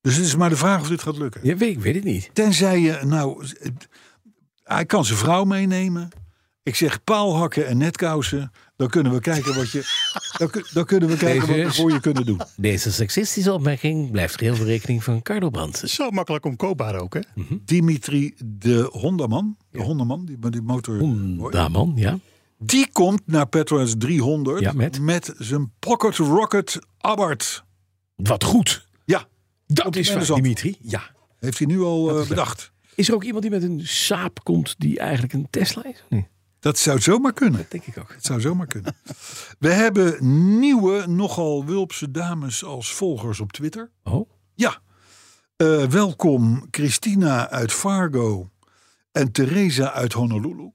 S2: Dus het is maar de vraag of dit gaat lukken.
S3: Ja, weet, ik weet het niet.
S2: Tenzij je, nou, eh, hij kan zijn vrouw meenemen. Ik zeg paalhakken en netkousen. Dan kunnen we kijken wat je, dan, kun- dan kunnen we kijken wat we
S3: Jezus.
S2: voor je kunnen doen.
S3: Deze seksistische opmerking blijft geheel voor rekening van Carlo Brandt.
S4: Zo makkelijk omkoopbaar ook, hè?
S2: Dimitri de Hondaman, de Hondaman, die, die motor,
S3: Daman, ja.
S2: die komt naar Petronas 300
S3: Ja, met?
S2: zijn Pocket Rocket Abarth.
S3: Wat goed.
S2: Ja,
S3: Dat
S2: Op
S3: is
S2: de
S3: fijn,
S2: zand.
S3: Dimitri. Ja.
S2: heeft hij nu al eh, bedacht.
S3: Is er ook iemand die met een saap komt die eigenlijk een Tesla is? Nee,
S2: Dat zou zomaar kunnen.
S3: denk ik ook.
S2: Het zou zomaar kunnen. We hebben nieuwe, nogal wulpse dames als volgers op Twitter.
S3: Oh,
S2: Ja, Eh, welkom Christina uit Fargo en Theresa uit Honolulu.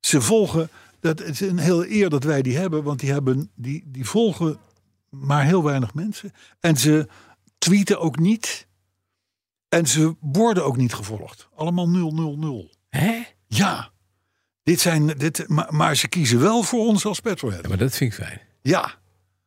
S2: Ze volgen, dat het is een heel eer dat wij die hebben, want die, hebben, die, die volgen maar heel weinig mensen. En ze tweeten ook niet. En ze worden ook niet gevolgd. Allemaal 000.
S3: hè?
S2: Ja, dit zijn, dit, maar, maar ze kiezen wel voor ons als petrolhead.
S3: Ja, maar dat vind ik fijn.
S2: Ja,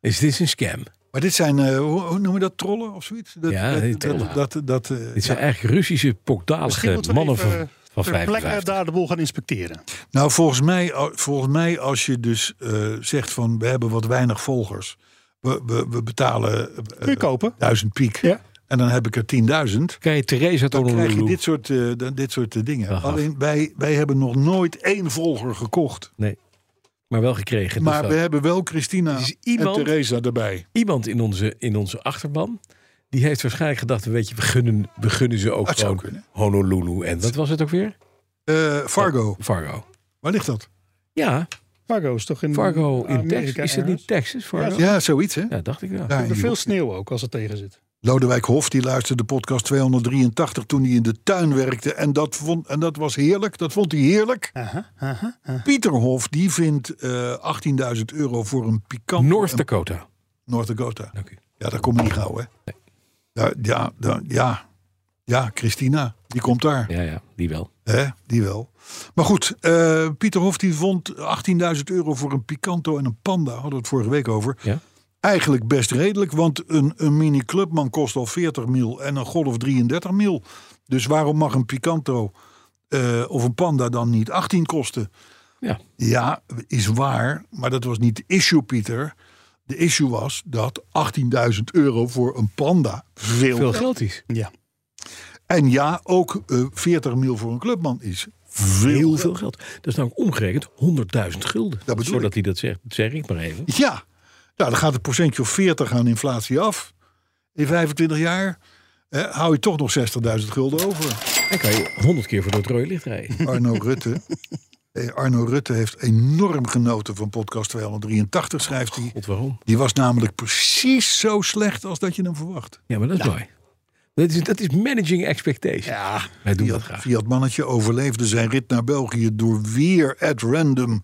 S3: Is dit een scam?
S2: maar dit zijn, eh, hoe, hoe noem je dat, trollen of zoiets? Dat,
S3: Ja, die
S2: dat,
S3: trollen.
S2: dat, dat, dat, eh,
S3: Dit zijn eigenlijk Russische pokdalige mannen van, van
S4: ter plekke
S3: 55.
S4: daar de boel gaan inspecteren.
S2: Nou, volgens mij, al- volgens mij als je dus eh, zegt van we hebben wat weinig volgers. We, we, we betalen eh,
S4: Kun je kopen?
S2: 1000 piek.
S4: Ja.
S2: En dan heb ik er 10.000.
S3: Kijk, Theresa
S2: Dan krijg je
S3: Honolulu.
S2: dit soort, eh, dan dit soort eh, dingen.
S3: Aha.
S2: Alleen wij, wij hebben nog nooit één volger gekocht.
S3: Nee, maar wel gekregen.
S2: Maar
S3: dus
S2: we
S3: dat-
S2: hebben wel Christina
S3: Is
S2: en
S3: iemand-
S2: Theresa erbij.
S3: Iemand in onze, in onze achterban, die heeft waarschijnlijk gedacht, weet je, we gunnen, we gunnen ze ook
S2: Dat zou
S3: gewoon
S2: kunnen.
S3: Honolulu. En wat was het ook weer?
S2: Eh, Fargo,
S3: Fargo.
S2: waar ligt dat?
S3: Ja,
S4: Fargo is toch in
S3: Fargo in
S4: Amerika
S3: Texas. Is dat
S4: ergens?
S3: niet Texas, Fargo? Ja,
S2: Mm, Ja, zoiets hè?
S3: dacht ik wel.
S2: Daar in
S4: Er
S2: die
S4: veel
S2: hoek.
S4: sneeuw ook als het tegen zit.
S2: Lodewijk Hof die luisterde podcast 283 toen hij in de tuin werkte. En dat, vond, en dat was heerlijk. Dat vond hij heerlijk. Pieter Hof die vindt eh 18.000 euro voor een pikant.
S3: North
S2: een-
S3: Dakota.
S2: North Dakota.
S3: Dank u.
S2: Ja, daar kom je niet gauw hè. Ja, ja, da- ja, ja, Christina. Die komt daar.
S3: Ja, ja, die wel.
S2: Hè, die wel. Maar goed, eh, Pieter Hof die vond 18.000 euro voor een Picanto en een Panda. Hadden we het vorige week over.
S3: Ja.
S2: Eigenlijk best redelijk, want een, een mini clubman kost al 40 mil en een Golf 33 mil. Dus waarom mag een Picanto eh, of een Panda dan niet 18 kosten?
S3: Ja.
S2: Ja, is waar, maar dat was niet de issue, Pieter. De issue was dat 18.000 euro voor een panda veel.
S3: Veel geld is.
S4: Ja.
S2: En ja, ook eh 40 mil voor een clubman is veel.
S3: Heel
S2: geld.
S3: veel geld. Dat is namelijk omgerekend 100.000 gulden.
S2: bedoel
S3: Zodat
S2: ik.
S3: hij dat zegt, dat zeg ik maar even.
S2: Ja, nou, dan gaat een procentje of 40 aan inflatie af. In 25 jaar eh, hou je toch nog 60.000 gulden over.
S3: En kan je 100 keer voor dat rode licht rijden.
S2: Arno Rutte. Eh, Arno Rutte heeft enorm genoten van podcast 283, schrijft hij.
S3: God, waarom?
S2: Die was namelijk precies zo slecht als dat je hem verwacht.
S3: Ja, maar dat is mooi. Dat is, dat is managing expectation. Ja, Wij doen dat
S2: Fiat,
S3: graag.
S2: Fiat mannetje overleefde zijn rit naar België door weer at random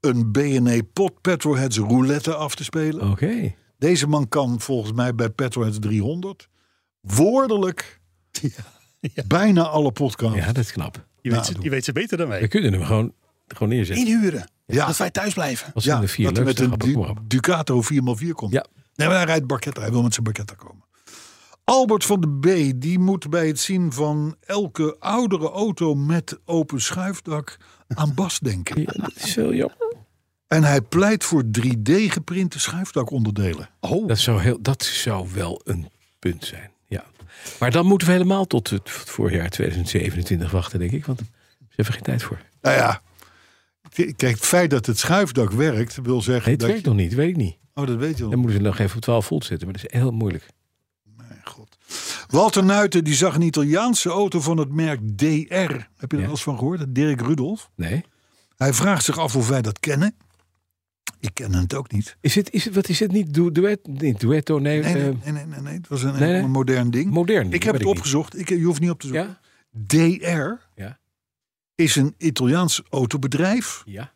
S2: een B&E pot Petroheads roulette af te spelen.
S3: Oké.
S2: Deze man kan volgens mij bij Petroheads 300 woordelijk bijna alle podcasts
S3: Ja, dat is knap.
S4: Je, weet,
S3: Nou,
S4: ze- je weet ze beter dan
S3: We
S4: wij.
S3: kunnen hem gewoon, gewoon neerzetten.
S2: inhuren. Ja, dat,
S4: wij thuis blijven.
S3: ja, de vier
S2: dat hij met
S3: leukste
S2: een
S3: grappen. Kom
S2: Du-
S3: maar op.
S2: Ducato 4x4 komt.
S3: Ja,
S2: Nee, maar hij rijdt Barketta. Hij wil met zijn Barketta komen. Albert van de B. Die moet bij het zien van elke oudere auto met open schuifdak aan Bas denken.
S3: Ja, dat is wel jammer.
S2: En hij pleit voor 3D-geprinte schuifdakonderdelen.
S3: Dat zou, heel, dat zou wel een punt zijn. Ja. Maar dan moeten we helemaal tot het voorjaar 2027 wachten, denk ik. Want ze hebben geen tijd voor.
S2: Nou ja, k- kijk, het feit dat het schuifdak werkt, wil zeggen
S3: Nee, het
S2: dat
S3: werkt nog niet, weet ik niet.
S2: je- Oh, dat weet je
S3: Dan
S2: wel.
S3: moeten ze nog even op 12 volt zetten, maar dat is heel moeilijk.
S2: God. Walter Nuiten die zag een Italiaanse auto van het merk DR. Heb je daar
S3: Ja.
S2: wel eens van gehoord? Dirk Rudolf.
S3: Nee.
S2: Hij vraagt zich af of wij dat kennen. Ik ken het ook niet.
S3: Is het, is het, wat is het niet? Du- Duet, niet duetto, nee.
S2: Nee,
S3: eh,
S2: nee, nee, nee, nee, nee. Het was een,
S3: nee, nee.
S2: een modern ding.
S3: modern.
S2: ik heb
S3: weet
S2: het
S3: niet.
S2: opgezocht. Ik, je hoeft niet op te zoeken.
S3: Ja?
S2: DR
S3: Ja.
S2: is een Italiaans autobedrijf
S3: Ja.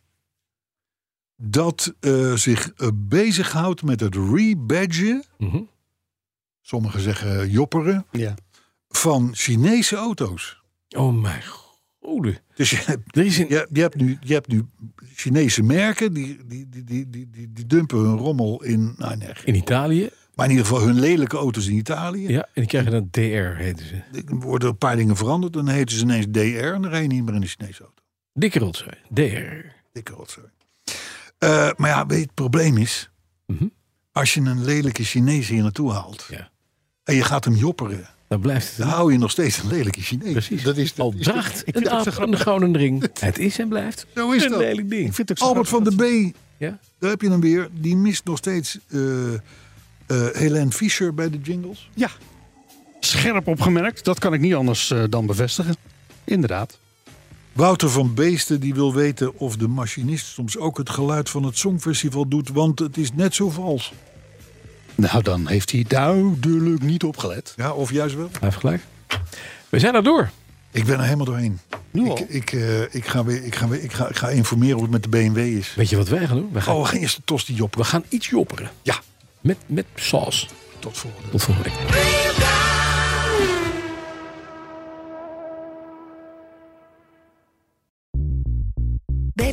S2: dat eh, zich eh, bezighoudt met het rebadgen,
S3: Mhm.
S2: sommigen zeggen jopperen,
S4: Ja.
S2: van Chinese auto's.
S3: Oh mijn goede.
S2: Dus je hebt,
S3: Er is een...
S2: je, je hebt, nu, je hebt nu Chinese merken die, die, die, die, die, die, die dumpen hun rommel in, nou, nee,
S3: In Italië,
S2: maar in ieder geval hun lelijke auto's in Italië.
S3: ja, en die krijgen dan DR, heten ze.
S2: Er worden een paar dingen veranderd. Dan heten ze ineens DR en dan rij je niet meer in de Chinese auto.
S3: Dikke rotzooi, DR.
S2: Dikke rotzooi. Eh, maar ja, weet je, het probleem is...
S3: Mhm.
S2: als je een lelijke Chinees hier naartoe haalt...
S3: Ja.
S2: en je gaat hem jopperen...
S3: Dan blijft
S2: dan
S3: het...
S2: hou je nog steeds een lelijke Chinees.
S3: Precies.
S2: Dat is, dat
S3: Al
S2: is-
S3: draagt een aap aan de gouden ring. Het is en blijft
S2: Zo is
S3: een
S2: dat.
S3: lelijk ding.
S4: Vind ik zo
S2: Albert van
S4: grappig
S2: de B,
S3: Ja?
S2: daar heb je hem weer. Die mist nog steeds eh eh Helene Fischer bij de jingles.
S4: dat- Ja. Scherp opgemerkt. Dat kan ik niet anders eh, dan bevestigen. Inderdaad.
S2: Wouter van Beesten die wil weten of de machinist soms ook het geluid van het Songfestival doet... want het is net zo vals.
S4: Nou, dan heeft hij duidelijk niet opgelet.
S2: Ja, of juist wel.
S3: Hij heeft gelijk. We zijn er door.
S2: Ik ben er helemaal doorheen.
S4: Nu al.
S2: Ik, ik, eh, ik, ga weer, ik, ga weer, ik, ga, ik ga informeren hoe het met de BMW is.
S3: Weet je wat wij gaan doen? We gaan,
S2: Oh, we gaan eerst de tosti joppen.
S3: we gaan iets jopperen.
S2: Ja,
S3: Met, met saus.
S2: tot volgende.
S3: Tot volgende week.
S8: Bij